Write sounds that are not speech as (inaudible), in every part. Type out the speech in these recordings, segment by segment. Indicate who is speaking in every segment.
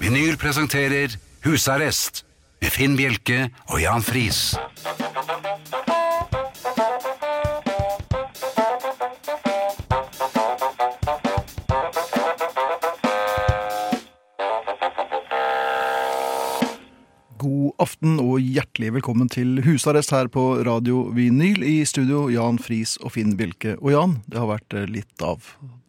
Speaker 1: Vinyl presenterer Husarrest med Finn Bjelke og Jan Friis.
Speaker 2: God aften og hjertelig velkommen til husarrest her på Radio Vinyl. I studio Jan Friis og Finn Bjelke. Og Jan, det har vært eh, litt av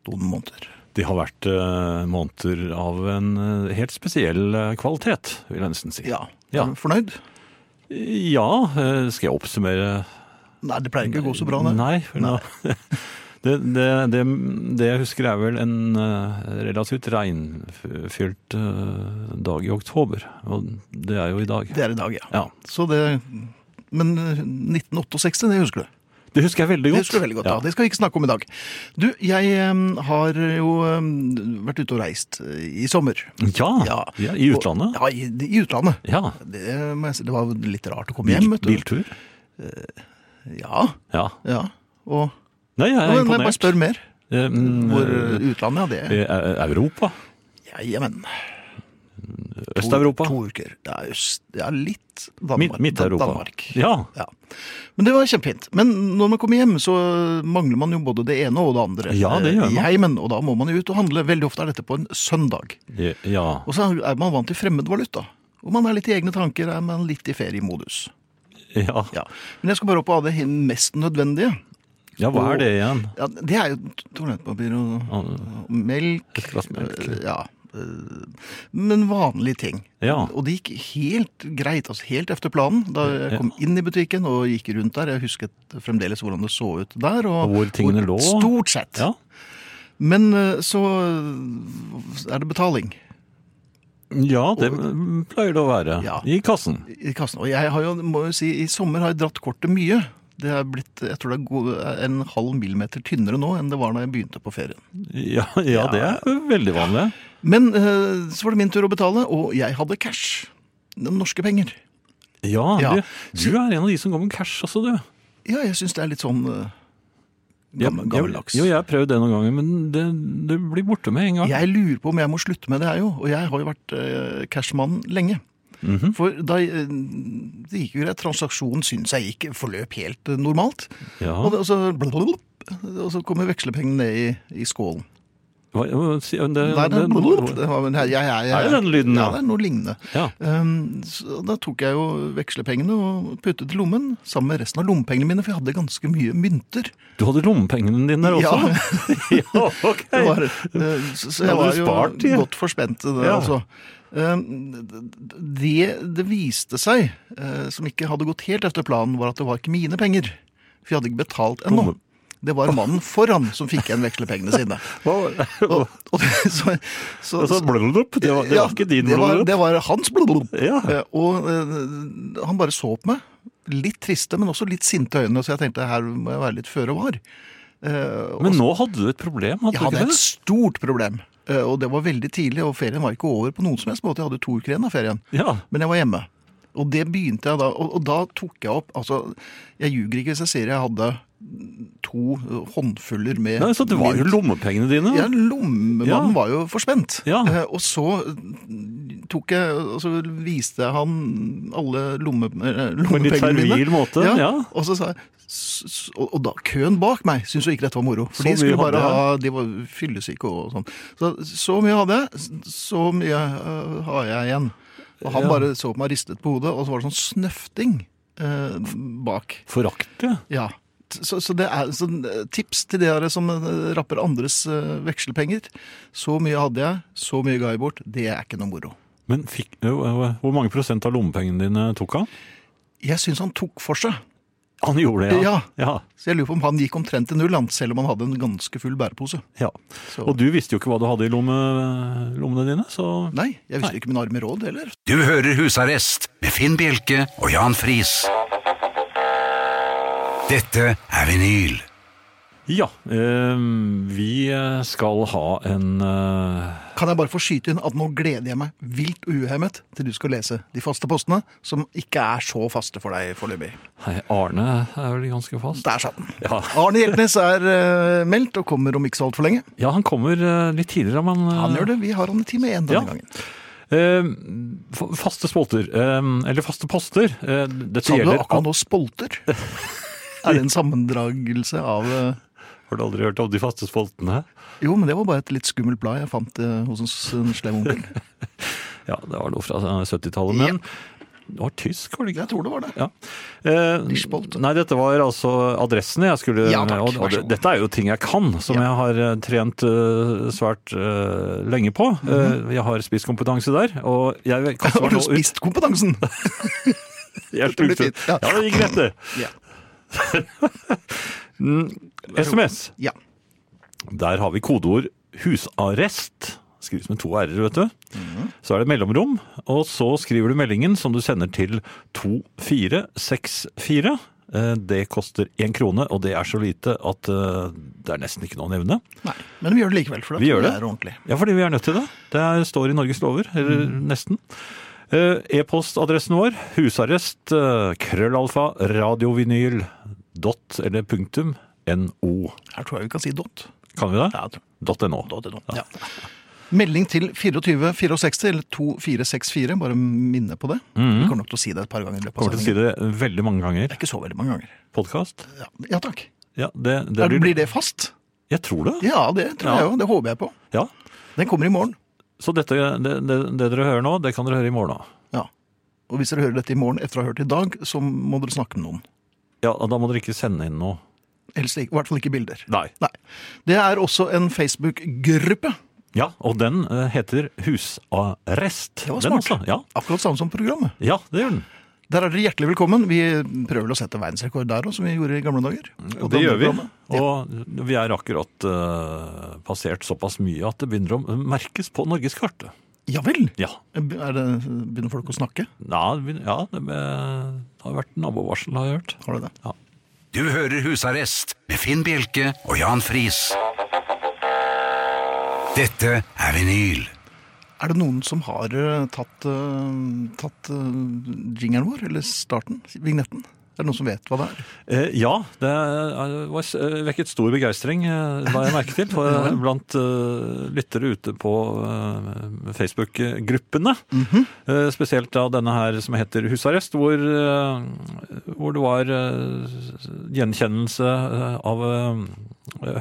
Speaker 2: noen måneder.
Speaker 3: Det har vært eh, måneder av en eh, helt spesiell eh, kvalitet, vil jeg nesten si.
Speaker 2: Ja.
Speaker 3: Ja.
Speaker 2: Er du fornøyd?
Speaker 3: Ja, eh, skal jeg oppsummere?
Speaker 2: Nei, det pleier ikke å gå så bra, det.
Speaker 3: Nei. for nå- (laughs) Det, det, det, det jeg husker er vel en eh, relativt regnfylt eh, dag i oktober, og det er jo i dag.
Speaker 2: Det er i dag, ja.
Speaker 3: Ja,
Speaker 2: Så det Men eh, 1968, det husker du?
Speaker 3: Det husker jeg veldig
Speaker 2: Det
Speaker 3: godt.
Speaker 2: husker du veldig godt, ja.
Speaker 3: Ja.
Speaker 2: Det skal vi ikke snakke om i dag. Du, jeg eh, har jo eh, vært ute og reist eh, i sommer.
Speaker 3: Ja,
Speaker 2: Ja.
Speaker 3: Ah, ja, I utlandet?
Speaker 2: Ja, i, i utlandet.
Speaker 3: Ja.
Speaker 2: Det, må jeg si, det var litt rart å komme
Speaker 3: Bil,
Speaker 2: hjem, vet du.
Speaker 3: biltur?
Speaker 2: Ja,
Speaker 3: Ja.
Speaker 2: ja. Og
Speaker 3: Nei, jeg er
Speaker 2: Ja, men jeg bare
Speaker 3: imponert.
Speaker 2: spør mer.
Speaker 3: Eh, mm,
Speaker 2: Hvor
Speaker 3: eh,
Speaker 2: eh, utlandet, ja, det
Speaker 3: eh, Europa?
Speaker 2: ja, Jamen. to-
Speaker 3: Øst-Europa?
Speaker 2: To uker. Ja, øst, ja litt
Speaker 3: Mid-
Speaker 2: Danmark.
Speaker 3: Midt-Europa?
Speaker 2: Danmark.
Speaker 3: Ja.
Speaker 2: Ja. Men det var kjempefint. Men når man kommer hjem, så mangler man jo både det ene og det andre.
Speaker 3: Ja, det gjør
Speaker 2: eh, I
Speaker 3: man.
Speaker 2: heimen, og da må man jo ut og handle. Veldig ofte er dette på en søndag.
Speaker 3: ja.
Speaker 2: Og så er man vant til fremmed valuta. Og man er litt i egne tanker, er man litt i feriemodus.
Speaker 3: Ja.
Speaker 2: Ja. Men jeg skal bare opp av det mest nødvendige.
Speaker 3: ja, hva er det igjen?
Speaker 2: Ja, det er jo toalettpapir og, og melk.
Speaker 3: Et glass melk.
Speaker 2: Eh, Ja. eh, Men vanlige ting.
Speaker 3: Ja.
Speaker 2: Og det gikk helt greit, altså helt efter planen. Da jeg kom inn i butikken og gikk rundt der. Jeg husket fremdeles hvordan det så ut der. Og,
Speaker 3: Og hvor tingene lå.
Speaker 2: Stort sett.
Speaker 3: Ja.
Speaker 2: Men eh, så eh, er det betaling
Speaker 3: ja, det pleier det å være.
Speaker 2: Ja.
Speaker 3: I kassen.
Speaker 2: i kassen. Og jeg har jo, må jo si, i sommer har jeg dratt kortet mye. Det er blitt, jeg tror det er go- en halv millimeter tynnere nå enn det var da jeg begynte på ferien.
Speaker 3: Ja, ja, det er veldig vanlig.
Speaker 2: Men eh, så var det min tur å betale, og jeg hadde cash. Norske penger.
Speaker 3: Ja,
Speaker 2: Ja.
Speaker 3: Du, du er en av de som går med cash også, du.
Speaker 2: Ja, jeg syns det er litt sånn eh, gammel- gammeldags.
Speaker 3: Jo, jeg har prøvd det noen ganger, men det, det blir borte med en gang.
Speaker 2: Jeg lurer på om jeg må slutte med det her, jo. Og jeg har jo vært eh, cashmann lenge. For da eh, Det gikk jo greit. Transaksjonen syns jeg gikk forløp helt eh, normalt.
Speaker 3: Ja.
Speaker 2: Og, det, og, så, blablabla, og så kommer vekselepengene ned i, i skålen.
Speaker 3: Hva, hva- si- det,
Speaker 2: Nei, det, blablabla,
Speaker 3: det,
Speaker 2: det var, jeg, jeg, jeg,
Speaker 3: Er det den lyden,
Speaker 2: Ja,
Speaker 3: ja?
Speaker 2: det er noe lignende.
Speaker 3: ja.
Speaker 2: Um, så da tok jeg jo vekslepengene og puttet i lommen sammen med resten av lommepengene mine, for jeg hadde ganske mye mynter.
Speaker 3: Du hadde lommepengene dine der
Speaker 2: (laughs)
Speaker 3: også? Ja, ok.
Speaker 2: Det
Speaker 3: (laughs)
Speaker 2: var, eh, så, så
Speaker 3: Da
Speaker 2: jeg
Speaker 3: hadde
Speaker 2: var
Speaker 3: du
Speaker 2: jo
Speaker 3: spart, ja.
Speaker 2: godt forspent til det,
Speaker 3: Ja.
Speaker 2: altså. Um, Det det viste seg, eh, som ikke hadde gått helt etter planen, var at det var ikke mine penger. For jeg hadde ikke betalt ennå.
Speaker 3: Lomme-
Speaker 2: Det var mannen foran som fikk igjen vekslepengene sine.
Speaker 3: (laughs)
Speaker 2: Og, og det, så, så,
Speaker 3: Altså, blubblub, det, var, det
Speaker 2: ja,
Speaker 3: var ikke din
Speaker 2: det var,
Speaker 3: blubblub.
Speaker 2: det var hans blodblod.
Speaker 3: Ja.
Speaker 2: Eh, Og eh, han bare så på meg. Litt triste, men også litt sinte øyne, så jeg tenkte her må jeg være litt føre var.
Speaker 3: Men nå hadde du et problem,
Speaker 2: Jeg
Speaker 3: hadde du
Speaker 2: hadde
Speaker 3: ikke
Speaker 2: et
Speaker 3: det?
Speaker 2: stort problem, eh, og det var veldig tidlig, og ferien var ikke over på noen som helst måte. Jeg hadde to uker igjen av ferien,
Speaker 3: Ja.
Speaker 2: men jeg var hjemme. Og det begynte jeg da, og, og da tok jeg opp Altså, jeg ljuger ikke hvis jeg sier jeg hadde to eh, håndfuller med
Speaker 3: Nei, så det var jo
Speaker 2: mynt.
Speaker 3: lommepengene dine.
Speaker 2: Ja, lommemannen
Speaker 3: Ja.
Speaker 2: var jo forspent.
Speaker 3: Ja.
Speaker 2: Eh, og så eh, tok jeg, og så viste jeg han alle lomme, eh,
Speaker 3: På en litt
Speaker 2: lommepengene mine.
Speaker 3: servil måte. Ja.
Speaker 2: Og så sa jeg s- s- og, og da, køen bak meg syntes jo ikke dette var moro. For
Speaker 3: Så
Speaker 2: de
Speaker 3: mye
Speaker 2: skulle bare
Speaker 3: hadde jeg.
Speaker 2: ha De var fyllesyke og sånn. Så, så mye hadde jeg. s- Så mye øh, har jeg igjen. Og han
Speaker 3: Ja.
Speaker 2: bare så på meg ristet på hodet, og så var det sånn snøfting eh, bak.
Speaker 3: Forakt, ja.
Speaker 2: Ja. T- Så, så det er så, eh, tips til dere som eh, rapper andres eh, vekslepenger. Så mye hadde jeg, så mye ga jeg bort. Det er ikke noe moro.
Speaker 3: Men fikk, ø, ø, hvor mange prosent av lommepengene dine tok han?
Speaker 2: Jeg syns han tok for seg.
Speaker 3: Han gjorde det, ja.
Speaker 2: Ja.
Speaker 3: ja.
Speaker 2: Så jeg lurer på om han gikk omtrent til null, han, selv om han hadde en ganske full bærepose.
Speaker 3: ja.
Speaker 2: Så-
Speaker 3: Og du visste jo ikke hva du hadde i lomme, lommene dine, så
Speaker 2: Nei, jeg visste ikke min arme råd heller.
Speaker 1: Du hører Husarrest med Finn Bjelke og Jan Friis. Dette er vinyl.
Speaker 3: Ja. ø, vi skal ha en ø,
Speaker 2: Kan jeg bare få skyte inn at nå gleder jeg meg vilt uhemmet til du skal lese de faste postene, som ikke er så faste for deg foreløpig.
Speaker 3: Hei, Arne er vel ganske fast?
Speaker 2: Der satt den.
Speaker 3: Ja.
Speaker 2: Arne Hjeltnes er eh, meldt og kommer om ikke så altfor lenge.
Speaker 3: ja, han kommer ø, litt tidligere, men
Speaker 2: Han gjør det. Vi har han i time én denne
Speaker 3: Ja.
Speaker 2: gangen.
Speaker 3: Eh, fa- faste spolter, eh, eller faste poster. Eh, dette
Speaker 2: Sa du
Speaker 3: gjelder
Speaker 2: akkurat nå spolter? (laughs) Er det en sammendragelse av eh,
Speaker 3: Har du aldri hørt om de faste spoltene?
Speaker 2: Jo, men det var bare et litt skummelt blad jeg fant eh, hos en s- en slem onkel.
Speaker 3: Ja, det var noe fra eh, 70-tallet, men det var tysk, var det ikke?
Speaker 2: Jeg tror det
Speaker 3: (laughs)
Speaker 2: var det.
Speaker 3: Ja. Eh,
Speaker 2: Die Spolte.
Speaker 3: nei, dette var altså adressene jeg skulle
Speaker 2: Ja, takk.
Speaker 3: og,
Speaker 2: Vær
Speaker 3: og,
Speaker 2: så god.
Speaker 3: Dette er jo ting jeg kan, som
Speaker 2: Ja.
Speaker 3: jeg har eh, trent eh, svært eh, lenge på. Eh, jeg har spisskompetanse der, og jeg kaster meg
Speaker 2: Mhm. (laughs) Har du
Speaker 3: nå ut.
Speaker 2: spist kompetansen?
Speaker 3: Jeg
Speaker 2: Det blir
Speaker 3: slukte.
Speaker 2: fint,
Speaker 3: Ja,
Speaker 2: ja.
Speaker 3: det gikk rett, det.
Speaker 2: Ja.
Speaker 3: (laughs) Mm, SMS.
Speaker 2: Ja.
Speaker 3: Der har vi kodeord husarrest. Skrives med to r-er, vet du.
Speaker 2: Mhm.
Speaker 3: Så er det mellomrom, og så skriver du meldingen som du sender til 2464. Eh, Det koster én krone, og det er så lite at eh, det er nesten ikke noe å nevne.
Speaker 2: Nei, men vi gjør det likevel, for
Speaker 3: Vi gjør
Speaker 2: det
Speaker 3: det.
Speaker 2: er ordentlig.
Speaker 3: Ja, fordi vi er nødt til det. Det er, står i Norges lover, eller
Speaker 2: Mhm.
Speaker 3: nesten. Eh, E-postadressen vår, husarrest, eh, krøllalfa, radiovinyl, dot eller punktum, no.
Speaker 2: Her tror jeg vi kan si dot.
Speaker 3: Kan vi det?
Speaker 2: Ja, jeg tror-
Speaker 3: Dot no.
Speaker 2: dot, er dot. Ja. Melding til 2464 eller 2464, bare minne på det. Vi kommer nok til å si det et par ganger i løpet av
Speaker 3: Mhm. Kommer til å si
Speaker 2: sendingen.
Speaker 3: det veldig mange ganger.
Speaker 2: Det er ikke så veldig mange ganger.
Speaker 3: Podkast?
Speaker 2: Ja, ja takk.
Speaker 3: Ja, det,
Speaker 2: Er-
Speaker 3: det blir,
Speaker 2: Blir det fast?
Speaker 3: Jeg tror det.
Speaker 2: Ja, det tror jeg
Speaker 3: Ja.
Speaker 2: jo. Det håper jeg på.
Speaker 3: Ja.
Speaker 2: Den kommer i morgen.
Speaker 3: Så dette, det, det, det dere hører nå, det kan dere høre i morgen. da.
Speaker 2: Ja. Og hvis dere hører dette i morgen etter å ha hørt i dag, så må dere snakke med noen.
Speaker 3: Ja, Da må dere ikke sende inn noe.
Speaker 2: Helst ikke, I hvert fall ikke bilder.
Speaker 3: Nei.
Speaker 2: Nei. Det er også en Facebook-gruppe.
Speaker 3: Ja, Og den eh, heter Husarrest.
Speaker 2: Det var
Speaker 3: Den
Speaker 2: smart.
Speaker 3: også, Ja.
Speaker 2: Akkurat samme som programmet.
Speaker 3: ja, det gjør den.
Speaker 2: Der er dere hjertelig velkommen. Vi prøver vel å sette verdensrekord der òg, som vi gjorde i gamle dager. Og
Speaker 3: Mm, Det gjør vi.
Speaker 2: programmet. Ja.
Speaker 3: Og vi er akkurat eh, passert såpass mye at det begynner å merkes på norgeskartet.
Speaker 2: Ja vel.
Speaker 3: Ja.
Speaker 2: Er det, begynner folk å snakke?
Speaker 3: Ja, det begynner- ja det, be- det har vært nabovarsel, har jeg hørt.
Speaker 2: Har det det?
Speaker 1: Du hører Husarrest med Finn Bjelke og Jan Friis. Dette er vinyl.
Speaker 2: Er det noen som har eh, tatt, eh, tatt eh, jingeren vår, eller starten, vignetten? Er det noen som vet hva det er?
Speaker 3: Eh, ja, det er- var, s- eh, vekket stor begeistring, eh, la jeg merke til,
Speaker 2: (laughs)
Speaker 3: for, eh, blant eh, lyttere ute på eh, Facebook-gruppene.
Speaker 2: Mhm.
Speaker 3: eh, spesielt da denne her som heter Husarrest, hvor, eh, hvor det var eh, gjenkjennelse eh, av eh,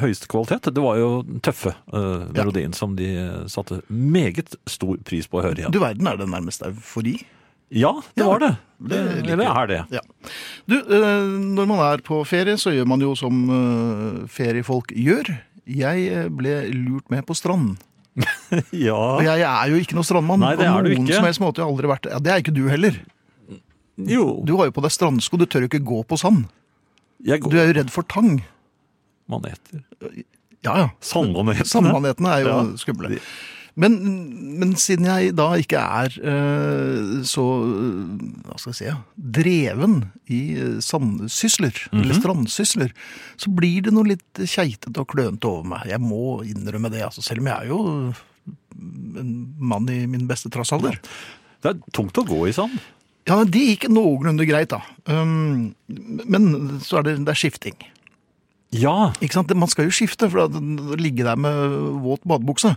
Speaker 3: høyeste kvalitet. Det var jo den tøffe eh,
Speaker 2: Ja.
Speaker 3: melodien som de eh, satte meget stor pris på å høre igjen.
Speaker 2: Du verden, er det nærmest eufori?
Speaker 3: Ja, det
Speaker 2: Ja,
Speaker 3: var det.
Speaker 2: det liker
Speaker 3: Eller
Speaker 2: jeg.
Speaker 3: er
Speaker 2: (laughs)
Speaker 3: det.
Speaker 2: Ja. Du, eh, når man er på ferie, så gjør man jo som eh, feriefolk gjør. Jeg eh, ble lurt med på stranden. Og
Speaker 3: Ja.
Speaker 2: jeg er jo ikke noen strandmann.
Speaker 3: Nei, det
Speaker 2: på
Speaker 3: er du
Speaker 2: noen
Speaker 3: ikke.
Speaker 2: Som helst måte. Jeg har aldri vært det. Ja, det er ikke du heller.
Speaker 3: Jo.
Speaker 2: Du har jo på deg strandsko, du tør jo ikke gå på sand.
Speaker 3: Jeg
Speaker 2: Du
Speaker 3: går
Speaker 2: er jo redd for tang.
Speaker 3: maneter.
Speaker 2: Ja, ja.
Speaker 3: Sandmanetene.
Speaker 2: Sandmanetene er jo
Speaker 3: Ja.
Speaker 2: skumle. Men, men siden jeg da ikke er eh, så eh, hva skal jeg si, ja, dreven i eh, sandsysler, eller strandsysler, så blir det noe litt keitete og klønete over meg. Jeg må innrømme det, altså, selv om jeg er jo en mann i min beste trassalder.
Speaker 3: Det er tungt å gå i sand.
Speaker 2: Ja, men det gikk noenlunde greit, da. Um, men så er det, det er skifting.
Speaker 3: Ja.
Speaker 2: Ikke sant? Man skal jo skifte, for at å ligge der med våt badebukse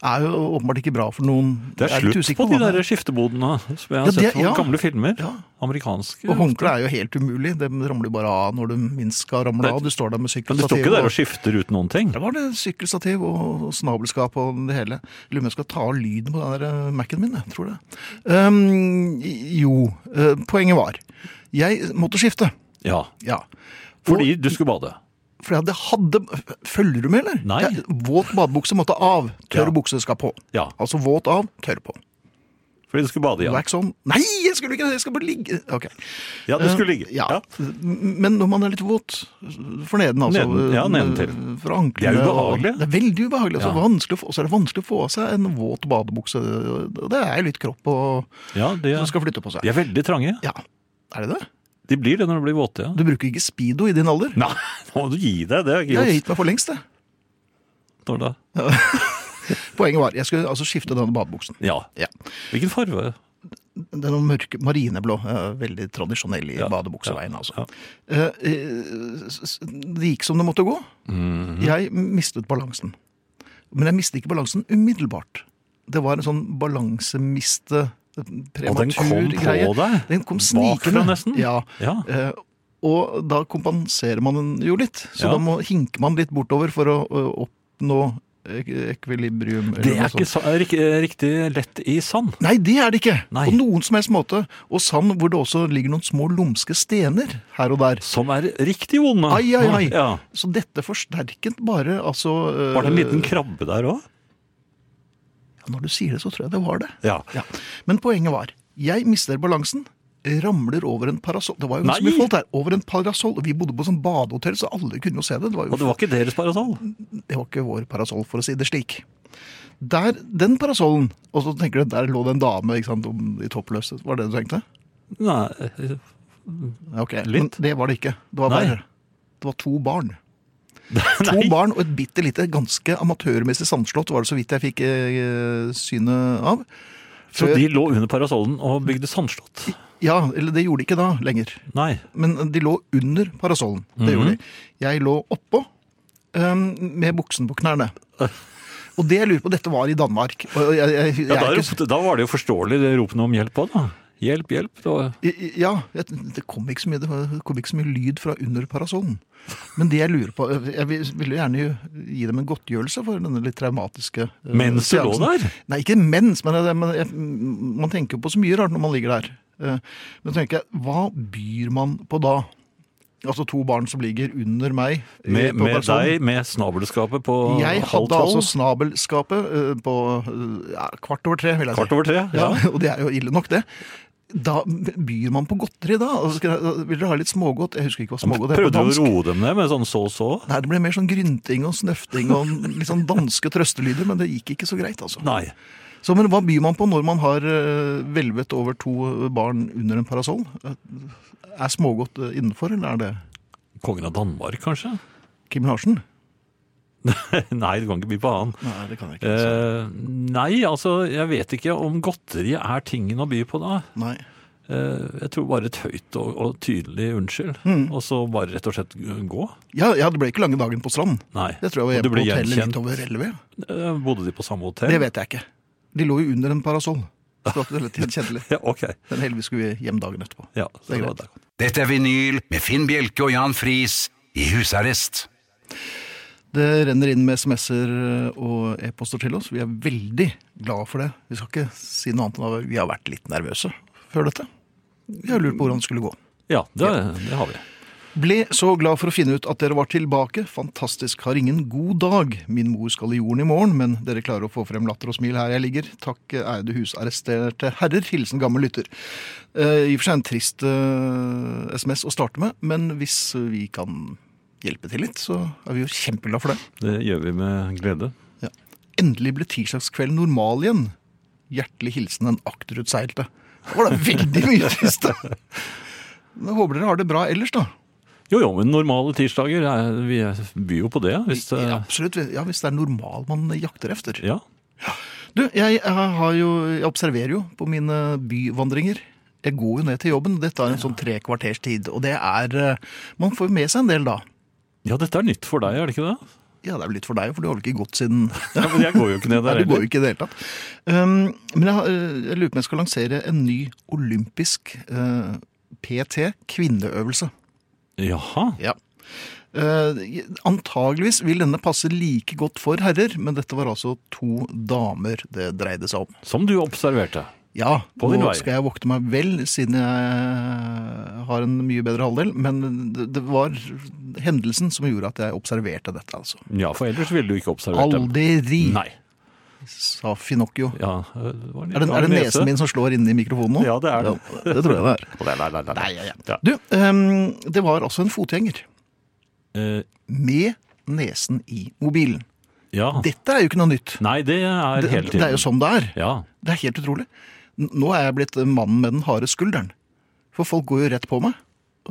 Speaker 2: er jo åpenbart ikke bra for noen.
Speaker 3: Det er
Speaker 2: Jeg litt
Speaker 3: slutt
Speaker 2: usikker
Speaker 3: på de
Speaker 2: hva det
Speaker 3: der
Speaker 2: er.
Speaker 3: skiftebodene som jeg har
Speaker 2: Ja, det-
Speaker 3: sett på
Speaker 2: ja.
Speaker 3: gamle filmer.
Speaker 2: Ja.
Speaker 3: Amerikanske.
Speaker 2: Og håndkle er jo helt umulig. De ramler jo bare av når de minst skal ramle
Speaker 3: Nei,
Speaker 2: av. Du står der med
Speaker 3: Men det står
Speaker 2: sykkelstativ.
Speaker 3: ikke der og
Speaker 2: og-
Speaker 3: skifter ut noen ting.
Speaker 2: Der var det sykkelstativ og snabelskap og det hele. Jeg lurer på om jeg skal ta av lyden på den der eh, Mac-en min, jeg tror det. Um, jo, eh, poenget var Jeg måtte skifte.
Speaker 3: Ja,
Speaker 2: Ja.
Speaker 3: Fordi du skulle bade.
Speaker 2: For jeg hadde Følger du med, eller?
Speaker 3: Nei.
Speaker 2: Jeg- Våt badebukse måtte av. Tørr
Speaker 3: Ja.
Speaker 2: bukse skal på.
Speaker 3: Ja,
Speaker 2: Altså våt av, tørr på.
Speaker 3: fordi du skulle bade, ja.
Speaker 2: Wax on. sånn, Nei, jeg skulle ikke det! Jeg skal bare ligge. Ok.
Speaker 3: Ja, Du skulle ligge.
Speaker 2: eh, Ja. Men når man er litt våt for neden, altså.
Speaker 3: Neden, ja, nedentil.
Speaker 2: Fra anklene.
Speaker 3: Det er ubehagelig.
Speaker 2: og- Det er veldig ubehagelig. Og så
Speaker 3: Ja.
Speaker 2: vanskelig å få- og så er det vanskelig å få av seg en våt badebukse. Det er litt kropp og,
Speaker 3: Ja, de,
Speaker 2: som skal flytte på seg.
Speaker 3: de er veldig trange.
Speaker 2: Ja. Er det det?
Speaker 3: De blir det når de blir våte, ja.
Speaker 2: Du bruker ikke Speedo i din alder?
Speaker 3: Nei, (laughs) nå må du gi deg. Det er
Speaker 2: Jeg
Speaker 3: ikke
Speaker 2: har
Speaker 3: gjort.
Speaker 2: gitt meg for lengst, det.
Speaker 3: Når da?
Speaker 2: Poenget var jeg skulle altså skifte denne badebuksen.
Speaker 3: Ja.
Speaker 2: Ja.
Speaker 3: Hvilken farve?
Speaker 2: Den er mørke marineblå. eh, Veldig tradisjonell i
Speaker 3: Ja,
Speaker 2: badebukseveien, altså.
Speaker 3: Ja.
Speaker 2: Eh, eh, s- s- Det gikk som det måtte gå.
Speaker 3: Mhm.
Speaker 2: Jeg mistet balansen. Men jeg mistet ikke balansen umiddelbart. det var en sånn balansemiste
Speaker 3: Og den kom
Speaker 2: prematur
Speaker 3: på
Speaker 2: greie.
Speaker 3: deg?
Speaker 2: Den kom
Speaker 3: Bakfra
Speaker 2: snikende.
Speaker 3: nesten?
Speaker 2: Ja.
Speaker 3: Ja.
Speaker 2: Eh, og da kompenserer man den jo litt. Så
Speaker 3: Ja.
Speaker 2: da må, hinker man litt bortover for å ø, oppnå ek- ekvilibrium. eller
Speaker 3: Det er
Speaker 2: noe sånn.
Speaker 3: ikke
Speaker 2: sånt.
Speaker 3: sa- rik- riktig lett i sand.
Speaker 2: Nei, det er det ikke!
Speaker 3: Nei.
Speaker 2: På noen som helst måte. Og sand hvor det også ligger noen små lumske stener her og der.
Speaker 3: Som er riktig vonde.
Speaker 2: Ai, ai, ai.
Speaker 3: Ja.
Speaker 2: Så dette forsterket bare altså ø,
Speaker 3: Var det en liten krabbe der òg?
Speaker 2: ja, Når du sier det, så tror jeg det var det.
Speaker 3: Ja.
Speaker 2: Ja. Men poenget var, jeg mister balansen, ramler over en parasoll. Det var jo ganske
Speaker 3: Nei!
Speaker 2: mye folk der. Over en parasoll. Og Vi bodde på sånn badehotell, så alle kunne jo se det. Det var jo
Speaker 3: Og det var ikke deres parasoll?
Speaker 2: det var ikke vår parasoll, for å si det slik. Der, den parasollen, og så tenker du, der lå det en dame ikke sant, om- i toppløse. Var det det du tenkte?
Speaker 3: (laughs) Nei
Speaker 2: Ja, Ok,
Speaker 3: Litt.
Speaker 2: Men det var det ikke. Det var
Speaker 3: Nei.
Speaker 2: verre. Det var to barn. To
Speaker 3: Nei.
Speaker 2: barn og et bitte lite, ganske amatørmessig sandslott var det så vidt jeg fikk eh, synet av.
Speaker 3: Så de lå under parasollen og bygde sandslott?
Speaker 2: Ja, eller det gjorde de ikke da lenger.
Speaker 3: Nei.
Speaker 2: Men de lå under parasollen. Det
Speaker 3: Mhm.
Speaker 2: gjorde de. Jeg lå oppå ehm, med buksen på
Speaker 3: (laughs)
Speaker 2: knærne. Og det jeg lurer på, dette var i Danmark. Og jeg, jeg, jeg,
Speaker 3: Ja, da,
Speaker 2: er ikke,
Speaker 3: ropte- da var det jo forståelig det ropene om hjelp òg, da. Hjelp, hjelp. Det var...
Speaker 2: I- Ja, jeg, det, kom ikke så mye, det var- det kom ikke så mye lyd fra under parasollen. Men det jeg lurer på eh, Jeg vil- ville gjerne jo gi dem en godtgjørelse for denne litt traumatiske eh,
Speaker 3: Mens du lå
Speaker 2: seansen.
Speaker 3: der?
Speaker 2: Nei, ikke mens, men jeg, men jeg, man tenker jo på så mye rart når man ligger der. Eh, Men så tenker jeg, hva byr man på da? Altså to barn som ligger under meg. eh,
Speaker 3: Med,
Speaker 2: på
Speaker 3: med
Speaker 2: parasollen.
Speaker 3: deg, med snabelskapet på
Speaker 2: Jeg
Speaker 3: halv
Speaker 2: hadde
Speaker 3: tolv?
Speaker 2: altså snabelskapet eh, på eh, ja, kvart over tre, vil jeg si.
Speaker 3: Kvart over tre?
Speaker 2: Ja, og det er jo ille nok, det. Da byr man på godteri, da. Altså, skal jeg- vil dere ha litt smågodt? Jeg husker ikke hva smågodt er på
Speaker 3: Prøvde du å
Speaker 2: dansk.
Speaker 3: roe dem ned med sånn så-så?
Speaker 2: Nei, det ble mer sånn grynting og snøfting og litt sånn danske trøstelyder, men det gikk ikke så greit, altså.
Speaker 3: Nei.
Speaker 2: Så, men hva byr man på når man har eh, hvelvet over to barn under en parasoll? Eh, Er smågodt eh, innenfor, eller er det
Speaker 3: Kongen av Danmark, kanskje? (laughs)
Speaker 2: Kim Larsen?
Speaker 3: Nei, du kan ikke by på annen.
Speaker 2: Nei, det kan jeg ikke. altså.
Speaker 3: Eh, nei, altså, jeg vet ikke om godteri er tingen å by på da.
Speaker 2: Nei.
Speaker 3: Eh, jeg tror bare et høyt og, og tydelig unnskyld,
Speaker 2: Mm.
Speaker 3: og så bare rett og slett gå.
Speaker 2: Ja, ja, det ble ikke lange dagen på strand.
Speaker 3: Nei.
Speaker 2: Jeg tror jeg
Speaker 3: Og du
Speaker 2: var
Speaker 3: ble
Speaker 2: hjemme på hotellet
Speaker 3: gjenkjent.
Speaker 2: litt over elleve.
Speaker 3: Eh, bodde de på samme hotell?
Speaker 2: Det vet jeg ikke. De lå jo under en parasoll. Så det var litt kjedelig.
Speaker 3: Ja, ok.
Speaker 2: Men heldigvis skulle vi hjem dagen etterpå.
Speaker 3: Ja, så
Speaker 2: Det er
Speaker 3: det var
Speaker 2: greit.
Speaker 3: det.
Speaker 1: Dette er vinyl med Finn Bjelke og Jan Friis i husarrest.
Speaker 2: Det renner inn med sms'er eh, og e-poster til oss. Vi er veldig glade for det. Vi skal ikke si noe annet enn at vi har vært litt nervøse før dette. Vi har lurt på hvordan det skulle gå.
Speaker 3: Ja, det, det har vi.
Speaker 2: Ble så glad for å finne ut at dere var tilbake. Fantastisk. Har ingen god dag. Min mor skal i jorden i morgen, men dere klarer å få frem latter og smil her jeg ligger. Takk, ærede husarresterte herrer. Hilsen gammel lytter. Eh, I og for seg en trist eh, SMS å starte med, men hvis vi kan hjelpe til litt, så er vi jo kjempeglade for det.
Speaker 3: Det gjør vi med glede.
Speaker 2: Ja. Endelig ble tirsdagskvelden normal igjen. Hjertelig hilsen den akterutseilte. Det var da veldig mye trist. Jeg håper dere har det bra ellers, da.
Speaker 3: Jo, jo, men normale tirsdager, eh, vi byr jo på det. Hvis, det-
Speaker 2: Ja, Absolutt. Ja, hvis det er normal man jakter efter.
Speaker 3: eh, ja.
Speaker 2: Du, jeg, har jo, jeg observerer jo på mine byvandringer. Jeg går jo ned til jobben. Det tar en sånn tre kvarters tid. Og det er eh, Man får jo med seg en del da.
Speaker 3: ja, dette er nytt for deg, er det
Speaker 2: (laughs)
Speaker 3: ikke det?
Speaker 2: Ja, det er vel litt for deg, for du har vel ikke gått siden (laughs)
Speaker 3: Ja, men jeg går jo ikke ned
Speaker 2: Nei, du
Speaker 3: der
Speaker 2: går
Speaker 3: heller.
Speaker 2: jo ikke i det hele tatt. Um, men jeg, har, eh, jeg lurer på om jeg skal lansere en ny olympisk eh, PT kvinneøvelse.
Speaker 3: Jaha.
Speaker 2: Ja. Eh, antageligvis vil denne passe like godt for herrer, men dette var altså to damer det dreide seg om.
Speaker 3: Som du observerte.
Speaker 2: Ja,
Speaker 3: På
Speaker 2: nå
Speaker 3: din vei.
Speaker 2: skal jeg vokte meg vel, siden jeg har en mye bedre halvdel. Men det, det var hendelsen som gjorde at jeg observerte dette, altså.
Speaker 3: Ja, for ellers ville du ikke observert dem.
Speaker 2: Aldri,
Speaker 3: Nei.
Speaker 2: sa Finocchio.
Speaker 3: Ja, øh, det var en
Speaker 2: Er det, er det nesen min som slår inni mikrofonen nå?
Speaker 3: Ja, det er det.
Speaker 2: Ja, det tror jeg det er.
Speaker 3: Nei, nei, nei. nei. Ja.
Speaker 2: Du, ehm, det var altså en fotgjenger
Speaker 3: Eh,
Speaker 2: med nesen i mobilen.
Speaker 3: ja.
Speaker 2: Dette er jo ikke noe nytt.
Speaker 3: Nei, det er
Speaker 2: Det,
Speaker 3: hele tiden.
Speaker 2: det er jo sånn det er.
Speaker 3: Ja.
Speaker 2: Det er helt utrolig. N- Nå er jeg blitt mannen med den harde skulderen. For folk går jo rett på meg.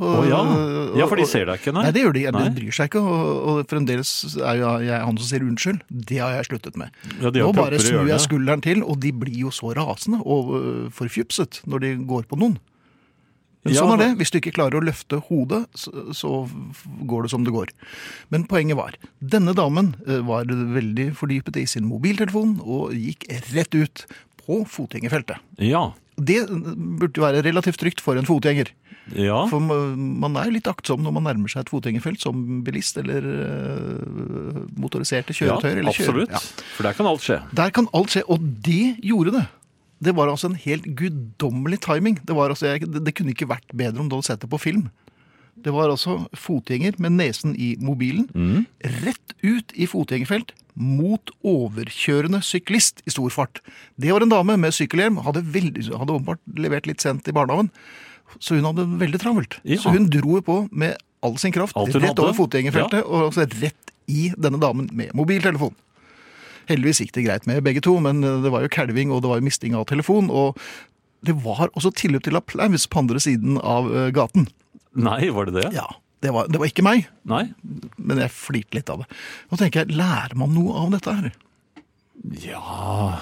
Speaker 3: Å
Speaker 2: Og-
Speaker 3: ja.
Speaker 2: og-
Speaker 3: ja, for
Speaker 2: og-
Speaker 3: de ser deg ikke,
Speaker 2: Nei,
Speaker 3: nei.
Speaker 2: det gjør de. De
Speaker 3: Nei.
Speaker 2: bryr seg ikke. Og, og fremdeles er jo jeg han som sier unnskyld. Det har jeg sluttet med.
Speaker 3: Ja, de
Speaker 2: Nå
Speaker 3: har
Speaker 2: bare
Speaker 3: propper i
Speaker 2: snur jeg
Speaker 3: hjørnet.
Speaker 2: skulderen til, og de blir jo så rasende og øh, forfjupset når de går på noen. Men
Speaker 3: Ja,
Speaker 2: sånn er det.
Speaker 3: hva-
Speaker 2: Hvis du ikke klarer å løfte hodet, så, så f- går det som det går. Men poenget var, denne damen eh, var veldig fordypet i sin mobiltelefon og gikk rett ut på fotgjengerfeltet.
Speaker 3: Ja.
Speaker 2: Det øh, burde jo være relativt trygt for en fotgjenger.
Speaker 3: Ja.
Speaker 2: For m- man er jo litt aktsom når man nærmer seg et fotgjengerfelt som bilist eller eh, motoriserte kjøretøyer.
Speaker 3: ja
Speaker 2: eller kjører-
Speaker 3: absolutt.
Speaker 2: Ja.
Speaker 3: For der kan alt skje.
Speaker 2: Der kan alt skje, og det gjorde det. Det var altså en helt guddommelig timing. Det, var altså, jeg, det, det kunne ikke vært bedre om du hadde sett det på film. Det var altså fotgjenger med nesen i mobilen, rett ut i fotgjengerfelt mot overkjørende syklist i stor fart. Det var en dame med sykkelhjelm, hadde, veldig, hadde åpenbart levert litt sent i barnehagen, så hun hadde det veldig travelt.
Speaker 3: Ja.
Speaker 2: Så hun dro på med all sin kraft
Speaker 3: Alt hun
Speaker 2: rett
Speaker 3: hadde.
Speaker 2: over fotgjengerfeltet, og altså rett i denne damen med mobiltelefon. Heldigvis gikk det greit med begge to, men eh, det var jo kalving og det var jo misting av telefon. Og det var også tilløp til applaus på andre siden av eh, gaten.
Speaker 3: Nei, var det det?
Speaker 2: Ja, Det var, det var ikke meg,
Speaker 3: Nei?
Speaker 2: men jeg flirte litt av det. Nå tenker jeg, lærer man noe av dette her?
Speaker 3: Ja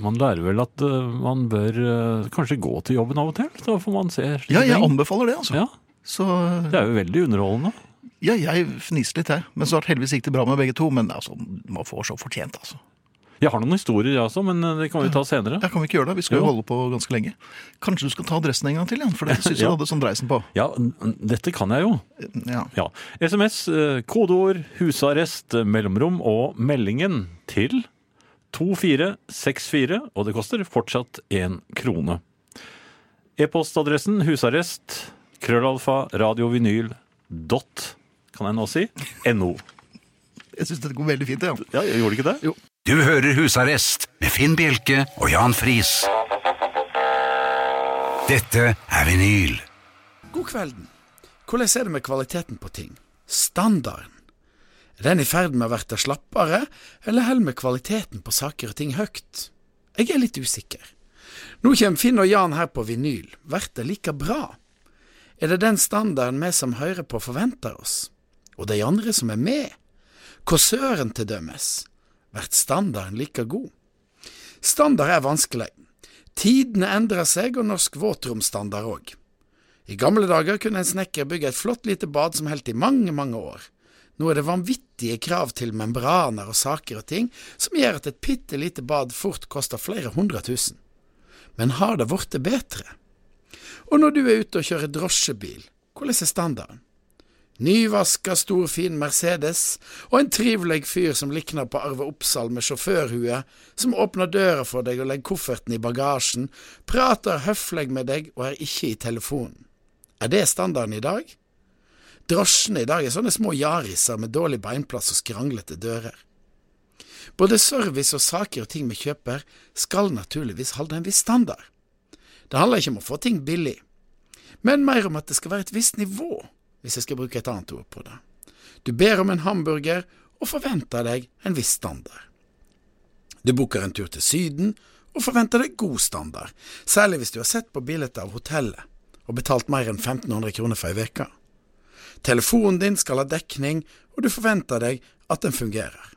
Speaker 3: Man lærer vel at eh, man bør eh, kanskje gå til jobben av og til. Da får man se slike
Speaker 2: Ja, jeg
Speaker 3: ting.
Speaker 2: anbefaler det, altså.
Speaker 3: ja,
Speaker 2: Så
Speaker 3: Det er jo veldig underholdende.
Speaker 2: ja, jeg fniste litt, jeg. Men snart heldigvis gikk det bra med begge to. Men altså, man får så fortjent, altså.
Speaker 3: Jeg har noen historier, jeg også, men eh, det kan vi ta senere.
Speaker 2: Ja, kan vi ikke gjøre det? Vi skal jo
Speaker 3: Jo.
Speaker 2: holde på ganske lenge. Kanskje du skal ta adressen en gang til igjen? For det syns jeg
Speaker 3: (laughs) Ja.
Speaker 2: du hadde sånn dreisen på.
Speaker 3: Ja, n- n- dette kan jeg jo.
Speaker 2: Ja.
Speaker 3: Ja. SMS, eh, kodeord, husarrest, eh, mellomrom og meldingen til 2464, og det koster fortsatt én krone. E-postadressen husarrest, krøllalfa, radiovinyl, dot, kan jeg nå si, no.
Speaker 2: Jeg syns dette går veldig fint, jeg, ja.
Speaker 3: Ja, jeg gjorde ikke det?
Speaker 1: Du hører Husarrest med Finn Bjelke og Jan Friis. Dette er vinyl.
Speaker 4: God kvelden. Hvordan er det med kvaliteten på ting? Standarden? Er den i ferd med å verte slappere, eller holder vi kvaliteten på saker og ting høyt? Jeg er litt usikker. Nå kommer Finn og Jan her på vinyl. Blir det like bra? Er det den standarden vi som hører på forventer oss? Og de andre som er med? Korsøren til dømes? Blir standarden like god? Standard er vanskelig. Tidene endrer seg, og norsk våtromsstandard òg. I gamle dager kunne en snekker bygge et flott lite bad som holdt i mange, mange år. Nå er det vanvittige krav til membraner og saker og ting som gjør at et bitte lite bad fort koster flere hundre tusen. Men har det blitt bedre? Og når du er ute og kjører drosjebil, hvordan er standarden? Nyvaska, stor, fin Mercedes, og en trivelig fyr som likner på Arve Oppsal med sjåførhue, som åpner døra for deg og legger kofferten i bagasjen, prater høflig med deg og er ikke i telefonen. Er det standarden i dag? Drosjene i dag er sånne små Yariser med dårlig beinplass og skranglete dører. Både service og saker og ting vi kjøper, skal naturligvis holde en viss standard. Det handler ikke om å få ting billig men mer om at det skal være et visst nivå, hvis jeg skal bruke et annet ord på det. Du ber om en hamburger og forventer deg en viss standard. Du booker en tur til Syden og forventer deg god standard, særlig hvis du har sett på bildet av hotellet og betalt mer enn 1500 kroner for ei uke. Telefonen din skal ha dekning, og du forventer deg at den fungerer.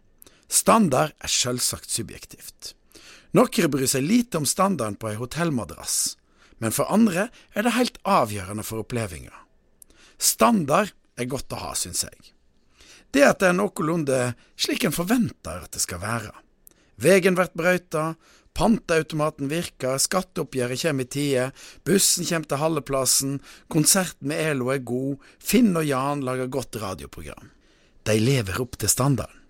Speaker 4: Standard er selvsagt subjektivt. Noen bryr seg lite om standarden på ei hotellmadrass, men for andre er det helt avgjørende for opplevelsen. Standard er godt å ha, syns jeg. Det at det er noenlunde slik en forventer at det skal være. Vegen blir brøyta, panteautomaten virker, skatteoppgjøret kommer i tide, bussen kommer til halveplassen, konserten med Elo er god, Finn og Jan lager godt radioprogram. De lever opp til standarden.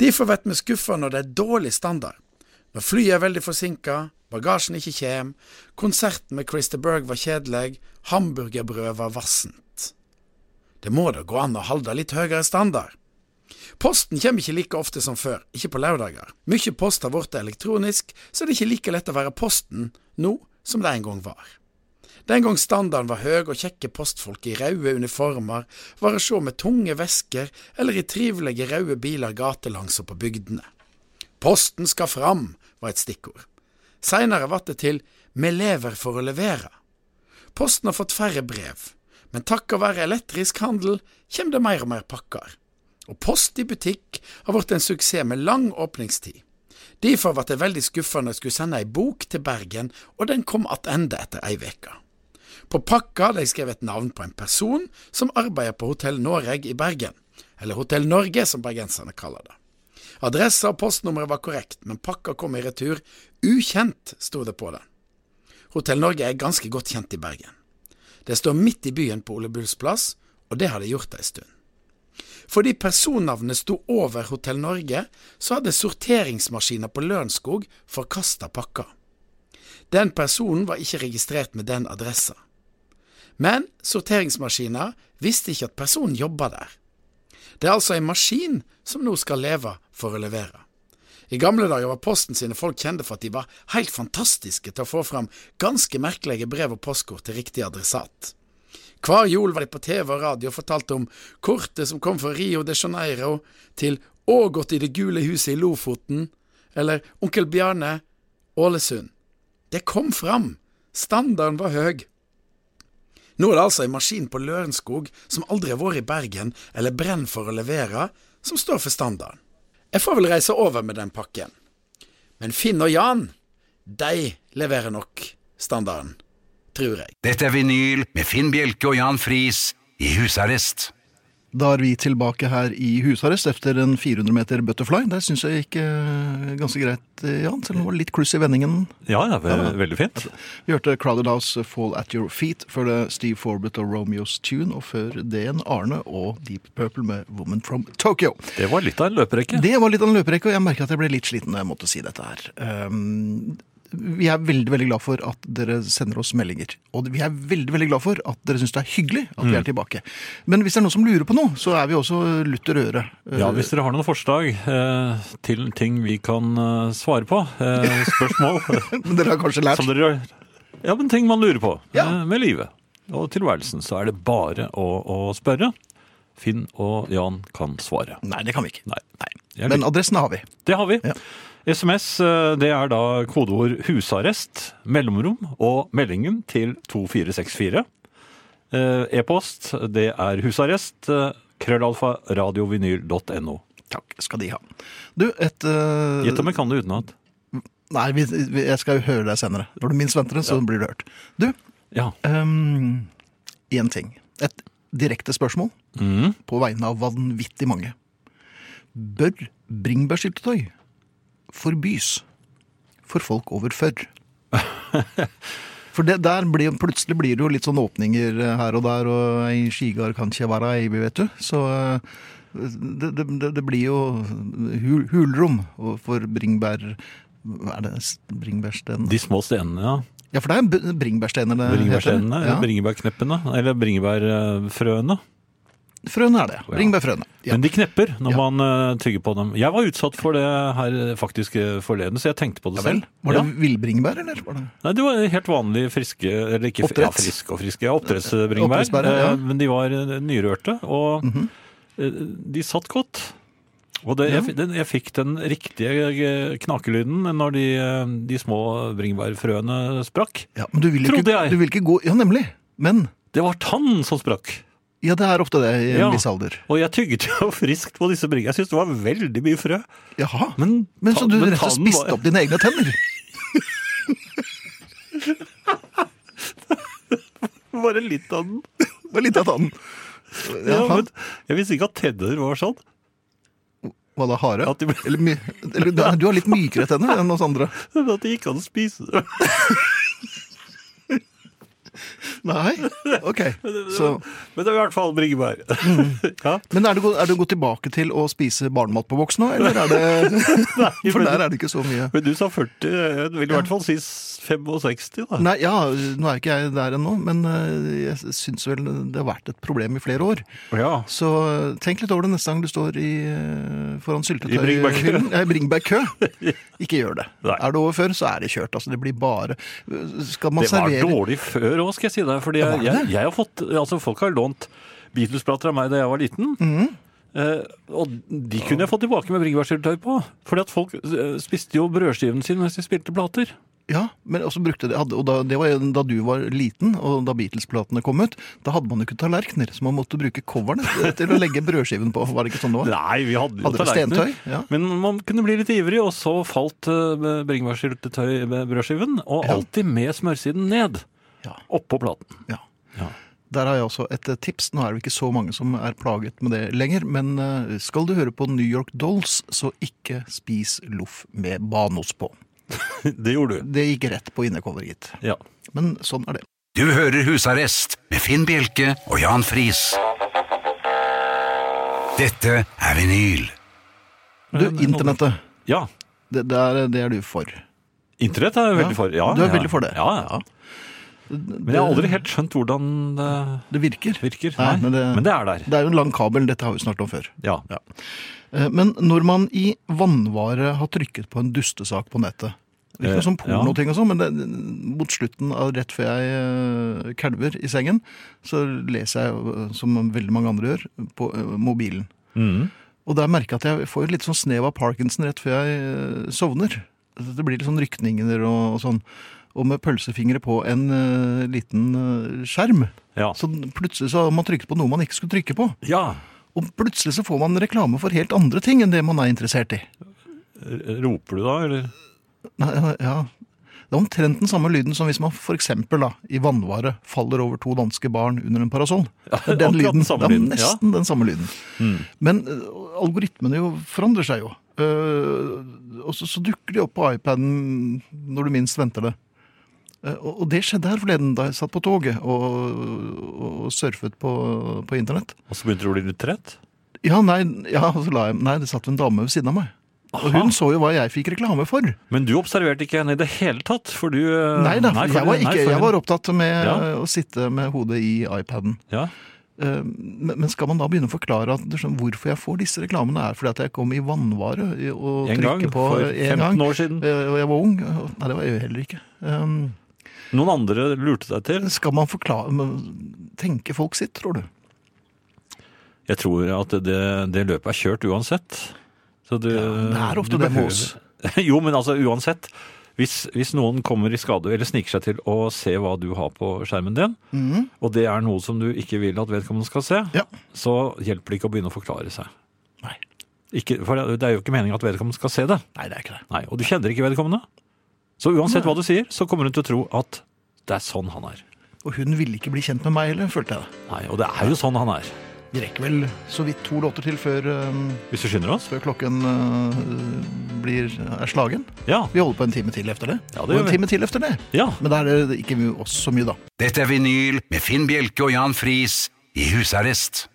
Speaker 4: Derfor blir vi skuffa når det er dårlig standard. Når flyet er veldig forsinka, bagasjen ikke kjem, konserten med Christer Berg var kjedelig, hamburgerbrød var vassent. Det må da gå an å holde litt høyere standard. Posten kommer ikke like ofte som før, ikke på lørdager. Mykje post har blitt elektronisk, så det er ikke like lett å være Posten nå som det en gang var. Den gang standarden var høg og kjekke postfolk i røde uniformer var å sjå med tunge vesker eller i trivelige røde biler gatelangs og på bygdene. Posten skal fram, var et stikkord. Seinere vart det til Me lever for å levere. Posten har fått færre brev, men takk være elektrisk handel kjem det mer og mer pakkar. Og Post i butikk har blitt en suksess med lang åpningstid. Derfor ble jeg veldig skuffa når jeg skulle sende ei bok til Bergen, og den kom attende etter ei uke. På pakka hadde jeg skrevet navn på en person som arbeider på Hotell Noreg i Bergen, eller Hotell Norge som bergenserne kaller det. Adressa og postnummeret var korrekt, men pakka kom i retur ukjent, sto det på den. Hotell Norge er ganske godt kjent i Bergen. Det står midt i byen på Ole Bulls plass, og det har det gjort ei stund. Fordi personnavnet sto over Hotell Norge, så hadde sorteringsmaskiner på Lørenskog forkasta pakka. Den personen var ikke registrert med den adressa. Men sorteringsmaskiner visste ikke at personen jobba der. Det er altså en maskin som nå skal leve for å levere. I gamle dager var Posten sine folk kjente for at de var helt fantastiske til å få fram ganske merkelige brev og postkort til riktig adressat. Hver jul var de på TV og radio og fortalte om kortet som kom fra Rio de Janeiro til Ågot i det gule huset i Lofoten, eller Onkel Bjarne, Ålesund. Det kom fram! Standarden var høy. Nå er det altså en maskin på Lørenskog som aldri har vært i Bergen eller brenner for å levere, som står for standarden. Jeg får vel reise over med den pakken. Men Finn og Jan, de leverer nok standarden, tror jeg.
Speaker 1: Dette er vinyl med Finn Bjelke og Jan Friis i husarrest.
Speaker 2: Da er vi tilbake her i husarrest etter en 400 meter butterfly. Der syns jeg gikk eh, ganske greit, eh, Jan, selv om det var litt kluss i vendingen.
Speaker 3: Ja, ja, ve veldig fint.
Speaker 2: Vi hørte Crowded House eh, Fall At Your Feet, før det Steve Forbett og Romeo's Tune, og før det en Arne og Deep Purple med Woman from Tokyo.
Speaker 3: Det var litt av en løperekke.
Speaker 2: Det var litt av en løperekke, og jeg merka at jeg ble litt sliten når jeg måtte si dette her. Ehm, vi er veldig veldig glad for at dere sender oss meldinger. Og vi er veldig veldig glad for at dere syns det er hyggelig at
Speaker 3: Mm.
Speaker 2: vi er tilbake. Men hvis det er noen som lurer på noe, så er vi også lutter øre.
Speaker 3: Ja, Hvis dere har noen forslag eh, til ting vi kan eh, svare på, eh, (laughs) spørsmål
Speaker 2: Men dere har kanskje lært
Speaker 3: som dere Ja, men ting man lurer på
Speaker 2: Ja.
Speaker 3: eh, med livet og tilværelsen, så er det bare å, å spørre. Finn og Jan kan svare.
Speaker 2: Nei, det kan vi ikke.
Speaker 3: Nei. Jeg
Speaker 2: Men adressen har vi.
Speaker 3: Det har vi.
Speaker 2: Ja.
Speaker 3: SMS eh, det er da kodeord 'husarrest', mellomrom og meldingen til 2464. Eh, E-post det er 'husarrest', eh, krøllalfa radiovinyl.no.
Speaker 2: Takk skal de ha. Du, et eh,
Speaker 3: Gjett om jeg kan det utenat.
Speaker 2: Nei, vi, vi, jeg skal jo høre deg senere. Når du minst venter det, så blir du hørt. Du,
Speaker 3: Ja.
Speaker 2: ehm, én ting. Et direkte spørsmål
Speaker 3: Mm.
Speaker 2: på vegne av vanvittig mange. Bør bringebærsyltetøy forbys for folk over
Speaker 3: (laughs)
Speaker 2: 40? For det der blir, plutselig blir det jo litt sånn åpninger her og der, og ei skigard kan ikke være ei, vet du. Så eh, det, det, det- det blir jo hul, hulrom for bringebær... Hva er det? Bringebærsten?
Speaker 3: De små stenene, ja.
Speaker 2: Ja, for det er b- bringebærstener det heter.
Speaker 3: Bringebærstenene, eller
Speaker 2: Ja.
Speaker 3: bringebærkneppene, eller bringebærfrøene.
Speaker 2: Frøene er det. Bringebærfrøene. Ja.
Speaker 3: Men de knepper når
Speaker 2: Ja.
Speaker 3: man eh, tygger på dem. Jeg var utsatt for det her eh, faktisk eh, forleden, så jeg tenkte på det
Speaker 2: Ja vel.
Speaker 3: selv.
Speaker 2: Var det
Speaker 3: Ja.
Speaker 2: villbringebær, eller? Var det?
Speaker 3: Nei, det var helt vanlige friske eller ikke,
Speaker 2: Oppdretts.
Speaker 3: Ja, friske og friske, ja, oppdrettsbringebær.
Speaker 2: Oppdrettsbær, ja. Mhm.
Speaker 3: Eh, Men de var eh, nyrørte, og eh, de satt godt. Og det, jeg, fi- den, jeg fikk den riktige eh, knakelyden når de, eh, de små bringebærfrøene sprakk.
Speaker 2: Ja, men du vil, jo
Speaker 3: Trodde
Speaker 2: ikke,
Speaker 3: jeg.
Speaker 2: du vil ikke gå Ja, nemlig. Men
Speaker 3: Det var tannen som sprakk!
Speaker 2: ja, det er ofte det i en
Speaker 3: Ja.
Speaker 2: viss alder.
Speaker 3: Og jeg tygget jo (laughs) friskt på disse bringebærene. Jeg syntes det var veldig mye frø.
Speaker 2: Jaha. Men,
Speaker 3: Men,
Speaker 2: så du rett og slett spiste
Speaker 3: var-
Speaker 2: opp dine egne tenner?
Speaker 3: (laughs)
Speaker 2: (laughs)
Speaker 3: Bare litt av den.
Speaker 2: Det var litt av tannen.
Speaker 3: Ja,
Speaker 2: Jaha.
Speaker 3: men jeg visste ikke at tenner var sånn.
Speaker 2: Hva da, hare?
Speaker 3: At de ble-
Speaker 2: Eller, my, eller du er- du har litt mykere tenner enn oss andre.
Speaker 3: Men at det gikk an å spise det.
Speaker 2: Nei? Ok. Så,
Speaker 3: (laughs) Men det er i hvert fall bringebær. ja.
Speaker 2: men er du, gå- er du gått tilbake til å spise barnemat på voksen nå, eller er det (laughs) For
Speaker 3: men-
Speaker 2: der er det ikke så mye.
Speaker 3: Men du sa 40, jeg vil i hvert fall si 65 da.
Speaker 2: Nei, ja, nå er ikke jeg der ennå, men eh, jeg syns vel det har vært et problem i flere år.
Speaker 3: Ja.
Speaker 2: Så eh, tenk litt over det neste gang du står i, eh, foran
Speaker 3: I
Speaker 2: (laughs)
Speaker 3: bringebærkø.
Speaker 2: syltetøyhyllen. Eh,
Speaker 3: (laughs)
Speaker 2: Bringebærkø. Ikke gjør det.
Speaker 3: Nei.
Speaker 2: Er det over før, så er det kjørt. Altså, det blir bare Skal man
Speaker 3: Det var
Speaker 2: servere
Speaker 3: dårlig før også, skal jeg si deg. Fordi jeg,
Speaker 2: var det?
Speaker 3: jeg, jeg har fått, altså folk har lånt Beatles-plater av meg da jeg var liten.
Speaker 2: Mhm.
Speaker 3: Eh, og de kunne jeg fått tilbake med bringebærsyltetøy på. Fordi at folk eh, spiste jo brødskiven sin mens de spilte plater.
Speaker 2: Ja, men også brukte det, hadde, og da, det var jo da du var liten, og da Beatles-platene kom ut, da hadde man jo ikke tallerkener, så man måtte bruke coverne til å legge brødskiven på. Var det ikke sånn det var?
Speaker 3: (laughs) Nei, vi hadde jo
Speaker 2: Hadde dere
Speaker 3: tallerkener.
Speaker 2: stentøy? Ja.
Speaker 3: Men man kunne bli litt ivrig, og så falt eh, bringebærsyltetøy med brødskiven. Og alltid med smørsiden ned.
Speaker 2: Ja.
Speaker 3: oppå platen.
Speaker 2: Ja.
Speaker 3: Ja.
Speaker 2: Der har jeg også et eh, tips. Nå er det ikke så mange som er plaget med det lenger, men eh, skal du høre på New York Dolls, så ikke spis loff med banost på.
Speaker 3: Det gjorde du.
Speaker 2: (laughs) Det gikk rett på innecover, gitt.
Speaker 3: Ja.
Speaker 2: Men sånn er det.
Speaker 1: Du hører Husarrest med Finn Bjelke og Jan Friis. Dette er vinyl.
Speaker 2: Du,
Speaker 3: Eh, Men-
Speaker 2: internettet.
Speaker 3: ja.
Speaker 2: Det, det, er, det er du for.
Speaker 3: Internett er jeg
Speaker 2: Ja.
Speaker 3: veldig for. Ja,
Speaker 2: Du er
Speaker 3: ja.
Speaker 2: veldig for det.
Speaker 3: Ja, ja. Men jeg har aldri helt skjønt hvordan det
Speaker 2: Det virker.
Speaker 3: virker.
Speaker 2: Nei, men det-
Speaker 3: men det er der.
Speaker 2: Det er jo en lang kabel, dette har vi snart om før.
Speaker 3: Ja.
Speaker 2: Ja. Eh, Men når man i vannvare har trykket på en dustesak på nettet Ikke
Speaker 3: Eh,
Speaker 2: noe sånn
Speaker 3: ja.
Speaker 2: pornoting og sånn, men det, mot slutten av rett før jeg eh, kalver i sengen, så leser jeg, eh, som veldig mange andre gjør, på eh, mobilen.
Speaker 3: Mhm.
Speaker 2: Og der merker jeg at jeg får litt sånn snev av Parkinson rett før jeg eh, sovner. Det blir litt sånn rykninger og, og sånn. Og med pølsefingre på en eh, liten eh, skjerm.
Speaker 3: Ja.
Speaker 2: Så plutselig så har man trykket på noe man ikke skulle trykke på.
Speaker 3: ja.
Speaker 2: Og plutselig så får man reklame for helt andre ting enn det man er interessert i.
Speaker 3: R- Roper du da, eller?
Speaker 2: Nei, ja. Det er omtrent den samme lyden som hvis man f.eks. i vannvare faller over to danske barn under en
Speaker 3: (laughs)
Speaker 2: parasoll. Det er den
Speaker 3: akkurat den
Speaker 2: lyden.
Speaker 3: samme
Speaker 2: det er
Speaker 3: lyden, ja. Mm.
Speaker 2: nesten den samme lyden. Men eh, algoritmene jo forandrer seg jo. Eh, og så, så dukker de opp på iPaden når du minst venter det. Eh, og, og det skjedde her forleden da jeg satt på toget og, og, og surfet på, på internett.
Speaker 3: Og så begynte du å bli litt trett?
Speaker 2: Ja, nei, ja, og så la jeg, nei, det satt en dame ved siden av meg. Og hun så jo hva jeg fikk reklame for.
Speaker 3: Men du observerte ikke henne i det hele tatt, for du eh,
Speaker 2: Nei da, for
Speaker 3: for
Speaker 2: jeg, var
Speaker 3: du- nei,
Speaker 2: ikke,
Speaker 3: for
Speaker 2: jeg
Speaker 3: hun-
Speaker 2: var opptatt med
Speaker 3: Ja.
Speaker 2: eh, å sitte med hodet i iPaden.
Speaker 3: Ja.
Speaker 2: Eh, Men men skal man da begynne å forklare at, liksom, hvorfor jeg får disse reklamene? Er fordi at jeg kom i vannvare i- og
Speaker 3: En gang,
Speaker 2: trykket på
Speaker 3: for
Speaker 2: eh,
Speaker 3: 15
Speaker 2: en gang?
Speaker 3: år siden.
Speaker 2: Eh, Og jeg var ung. Nei, det var jeg jo heller ikke. Um,
Speaker 3: Noen andre lurte deg til?
Speaker 2: Skal man forklare men Tenke folk sitt, tror du?
Speaker 3: Jeg tror at det, det løpet er kjørt uansett. Så du,
Speaker 2: det er ofte
Speaker 3: du
Speaker 2: det med
Speaker 3: behøver-
Speaker 2: oss.
Speaker 3: (laughs) jo, men altså uansett. Hvis, hvis noen kommer i skade eller sniker seg til å se hva du har på skjermen din, og det er noe som du ikke vil at vedkommende skal se,
Speaker 2: Mhm. Ja.
Speaker 3: så hjelper det ikke å begynne å forklare seg.
Speaker 2: Nei.
Speaker 3: Ikke, for det er jo ikke meningen at vedkommende skal se det.
Speaker 2: Nei, det er ikke det.
Speaker 3: Nei, Og du kjenner ikke vedkommende. Så uansett hva du sier, så kommer hun til å tro at det er sånn han er.
Speaker 2: Og hun ville ikke bli kjent med meg heller, følte jeg det.
Speaker 3: Nei, Og det er jo sånn han er.
Speaker 2: Vi rekker vel så vidt to låter til før um,
Speaker 3: Hvis du skynder oss?
Speaker 2: før klokken øh, blir, er slagen.
Speaker 3: Ja.
Speaker 2: Vi holder på en time til efter det.
Speaker 3: Ja, det
Speaker 2: og
Speaker 3: gjør
Speaker 2: en
Speaker 3: vi.
Speaker 2: time til efter det.
Speaker 3: ja.
Speaker 2: Men da er det ikke oss så mye, da.
Speaker 1: Dette er vinyl med Finn Bjelke og Jan Friis i husarrest.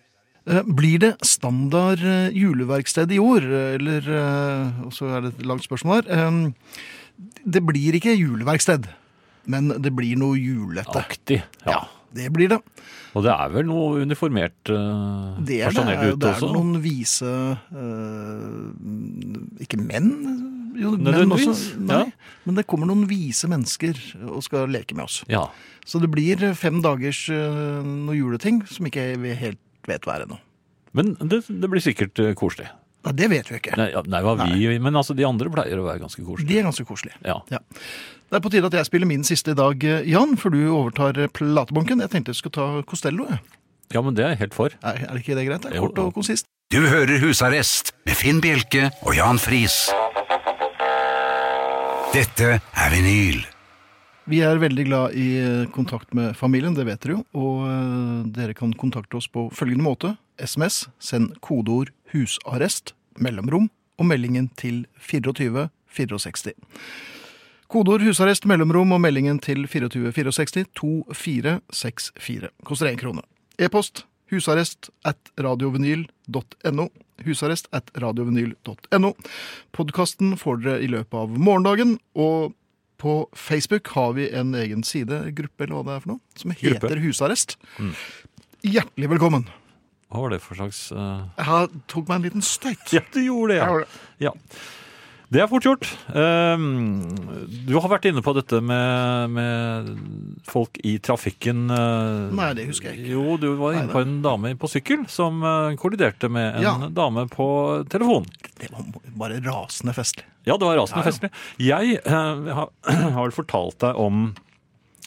Speaker 2: Eh, Blir det standard eh, juleverksted i år, eh, eller eh, Og så er det et langt spørsmål her. Eh, Det blir ikke juleverksted, men det blir noe julete.
Speaker 3: Aktig. Ja.
Speaker 2: Det blir det.
Speaker 3: Og det er vel noe uniformert eh,
Speaker 2: Det er, det
Speaker 3: personell
Speaker 2: er, jo-
Speaker 3: ute
Speaker 2: det er
Speaker 3: også?
Speaker 2: noen vise eh, Ikke menn, jo, menn også.
Speaker 3: Nødvendigvis,
Speaker 2: Nei,
Speaker 3: ja.
Speaker 2: Men det kommer noen vise mennesker og skal leke med oss.
Speaker 3: Ja.
Speaker 2: Så det blir eh, fem dagers øh, noe juleting som ikke vi helt vet hva er ennå.
Speaker 3: Men det, det blir sikkert eh, koselig.
Speaker 2: Ja, det vet vi ikke.
Speaker 3: Nei, ja, nei, hva vi, men altså, de andre pleier å være ganske koselige.
Speaker 2: De er ganske koselige.
Speaker 3: Ja.
Speaker 2: Ja. Det er på tide at jeg spiller min siste i dag, eh, Jan, før du overtar eh, platebunken. Jeg tenkte jeg skulle ta Costello. jeg.
Speaker 3: ja, men det er jeg helt for.
Speaker 2: Er, er ikke det greit? Det er
Speaker 3: Jo,
Speaker 2: kort og
Speaker 3: jo.
Speaker 2: konsist.
Speaker 1: Du hører Husarrest med Finn Bjelke og Jan Friis. Dette er vinyl.
Speaker 2: Vi er veldig glad i eh, kontakt med familien, det vet dere jo. Og eh, dere kan kontakte oss på følgende måte. SMS, send kodeord 'husarrest', mellomrom, og meldingen til 2464. Kodeord 'husarrest', mellomrom og meldingen til 2464 2464. Koster én krone. E-post husarrest at radiovinyl.no. Husarrest at radiovinyl.no. Podkasten får dere i løpet av morgendagen. og på Facebook har vi en egen side, gruppe eller hva det er for noe, som heter
Speaker 3: Gruppe. Mm.
Speaker 2: Husarrest. Hjertelig velkommen.
Speaker 3: Hva var det for slags eh,
Speaker 2: Jeg har- tok meg en liten støyt.
Speaker 3: Ja, du gjorde det,
Speaker 2: Jeg
Speaker 3: ja.
Speaker 2: har det.
Speaker 3: ja. Det er fort gjort. Ehm, du har vært inne på dette med, med folk i trafikken. eh,
Speaker 2: Nei, det husker jeg ikke.
Speaker 3: Jo, du var
Speaker 2: Nei,
Speaker 3: inne på en dame på sykkel som eh, kolliderte med en
Speaker 2: Ja.
Speaker 3: dame på telefon.
Speaker 2: Det var bare rasende festlig.
Speaker 3: (clears throat) Ja, det var rasende festlig. Jeg eh, har har vel fortalt deg om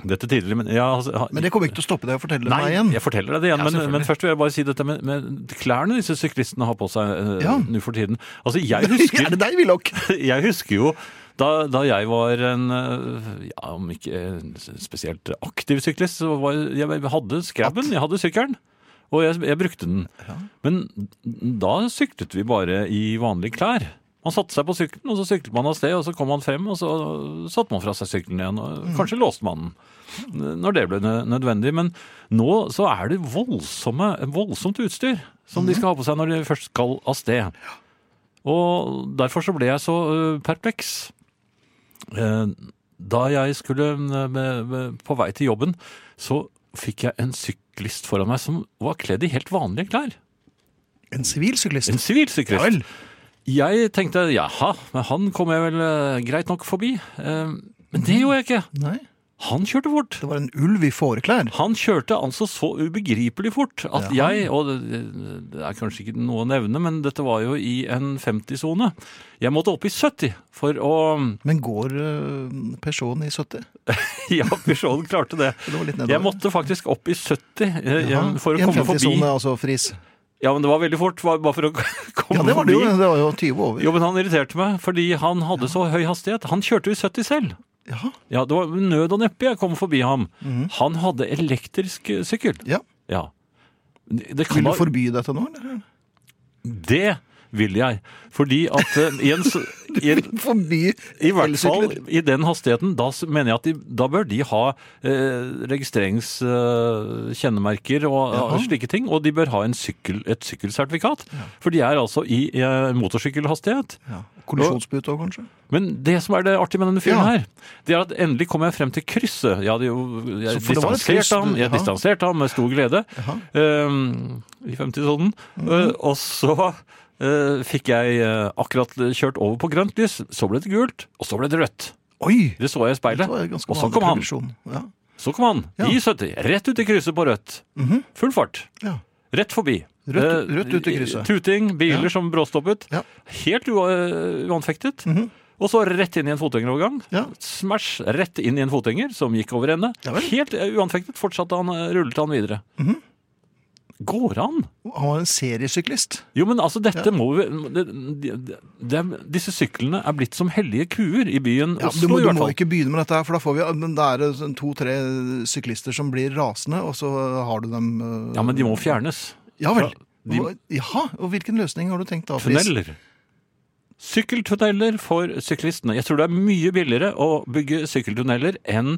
Speaker 3: Dette tidligere, men jeg har-
Speaker 2: Men det kommer ikke til å stoppe deg å fortelle
Speaker 3: Nei,
Speaker 2: meg igjen.
Speaker 3: jeg forteller deg det igjen,
Speaker 2: Ja,
Speaker 3: men,
Speaker 2: selvfølgelig.
Speaker 3: men først vil jeg bare si dette med, med klærne disse syklistene har på seg eh,
Speaker 2: Ja.
Speaker 3: nå for tiden. Altså,
Speaker 2: (laughs)
Speaker 3: jeg husker,
Speaker 2: er det deg, Willoch?
Speaker 3: (laughs) jeg husker jo da, da jeg var en eh, ja, om ikke en spesielt aktiv syklist, så var jeg, jeg hadde skrabben, jeg hadde sykkelen. Og jeg, jeg brukte den. Men da syklet vi bare i vanlige klær. Man satte seg på sykkelen, og så syklet man av sted, og så kom man frem, og så satte man fra seg sykkelen igjen. Og kanskje låste man den når det ble nø- nødvendig. Men nå så er det voldsomme, voldsomt utstyr som de skal ha på seg når de først skal av sted. Og derfor så ble jeg så ø, perpleks. Eh, Da jeg skulle ø, med- med- på vei til jobben, så fikk jeg en syklist foran meg som var kledd i helt vanlige klær.
Speaker 2: En sivil syklist.
Speaker 3: En
Speaker 2: Ja
Speaker 3: sivilsyklist.
Speaker 2: vel.
Speaker 3: Jeg tenkte jaha, men han kom jeg vel ø, greit nok forbi. Eh, Men det gjorde jeg ikke.
Speaker 2: Nei,
Speaker 3: Han kjørte fort.
Speaker 2: det var en ulv i fåreklær.
Speaker 3: Han kjørte altså så ubegripelig fort at jeg, og det, det er kanskje ikke noe å nevne, men dette var jo i en 50-sone. Jeg måtte opp i 70 for å
Speaker 2: Men går eh, Peugeoten i 70?
Speaker 3: (laughs) Ja, Peugeoten klarte det.
Speaker 2: Det var litt nedover.
Speaker 3: Jeg måtte faktisk opp i 70 eh,
Speaker 2: Jaha.
Speaker 3: for å
Speaker 2: 1,50
Speaker 3: komme forbi.
Speaker 2: sone, altså fris.
Speaker 3: Ja, men det var veldig fort, var bare for å (laughs) komme
Speaker 2: Ja, det var det jo.
Speaker 3: forbi.
Speaker 2: Det var jo 20 over.
Speaker 3: Jo, men han irriterte meg, fordi han hadde så høy hastighet. Han kjørte jo i 70 selv.
Speaker 2: Jaha.
Speaker 3: Ja, det var nød og neppe jeg kom forbi ham. Han hadde elektrisk eh, sykkel.
Speaker 2: Mhm. Ja.
Speaker 3: Ja. Det det kan
Speaker 2: Vil du
Speaker 3: da-
Speaker 2: forby dette nå? eller? (laughs)
Speaker 3: Det vil jeg. Fordi at eh, i,
Speaker 2: (laughs)
Speaker 3: en, s- i, en,
Speaker 2: Forby
Speaker 3: i hvert fall
Speaker 2: elsykler?
Speaker 3: i den hastigheten, da s- mener jeg at de, da bør de ha eh, registreringskjennemerker og eh,
Speaker 2: Jaha.
Speaker 3: slike ting. Og de bør ha en sykkel, et sykkelsertifikat. For de er altså i eh, motorsykkelhastighet.
Speaker 2: Ja. Kollisjonspute òg, kanskje?
Speaker 3: Men det som er det artige med denne fyren
Speaker 2: Ja.
Speaker 3: her, det er at endelig kom jeg frem til krysset. Jeg hadde jo jeg
Speaker 2: Så for det var et kryss,
Speaker 3: distansert ham, jeg
Speaker 2: ja.
Speaker 3: distanserte ham med stor glede. ehm, I 50-sonen.
Speaker 2: Mhm.
Speaker 3: Eh, og så eh, fikk jeg eh, akkurat kjørt over på grønt lys. Så ble det gult, og så ble det rødt.
Speaker 2: Oi!
Speaker 3: Det så jeg i
Speaker 2: Det
Speaker 3: speilet.
Speaker 2: var ganske
Speaker 3: Og så
Speaker 2: vanlig
Speaker 3: kom han.
Speaker 2: progresjon. Ja.
Speaker 3: Så kom han.
Speaker 2: Ja.
Speaker 3: I 70. Rett ut i krysset på rødt. Full fart.
Speaker 2: Ja.
Speaker 3: Rett forbi.
Speaker 2: Rødt-
Speaker 3: Eh,
Speaker 2: rødt ut i krysset.
Speaker 3: Tuting, biler
Speaker 2: Ja.
Speaker 3: som bråstoppet.
Speaker 2: Ja. Mhm.
Speaker 3: Helt u uanfektet. Og så rett inn i en fotgjengerovergang.
Speaker 2: Ja.
Speaker 3: Smash, rett inn i en fotgjenger som gikk over ende.
Speaker 2: Ja vel. Mhm.
Speaker 3: Helt eh, uanfektet fortsatte han, eh, rullet han videre. Går han?
Speaker 2: Han var en seriesyklist.
Speaker 3: Jo, men altså, dette må vi det, det, det, Disse syklene er blitt som hellige kuer i byen
Speaker 2: Ja, du,
Speaker 3: Oslo,
Speaker 2: må,
Speaker 3: i
Speaker 2: du
Speaker 3: hvert
Speaker 2: må
Speaker 3: fall.
Speaker 2: ikke begynne med dette, her, for da får vi men Da er det sånn to-tre syklister som blir rasende, og så har du dem eh,
Speaker 3: Ja, men de må fjernes.
Speaker 2: Ja vel.
Speaker 3: de-
Speaker 2: Hva- Jaha, og hvilken løsning har du tenkt da? Friis?
Speaker 3: Tunneler. Sykkeltunneler for syklistene. Jeg tror det er mye billigere å bygge sykkeltunneler enn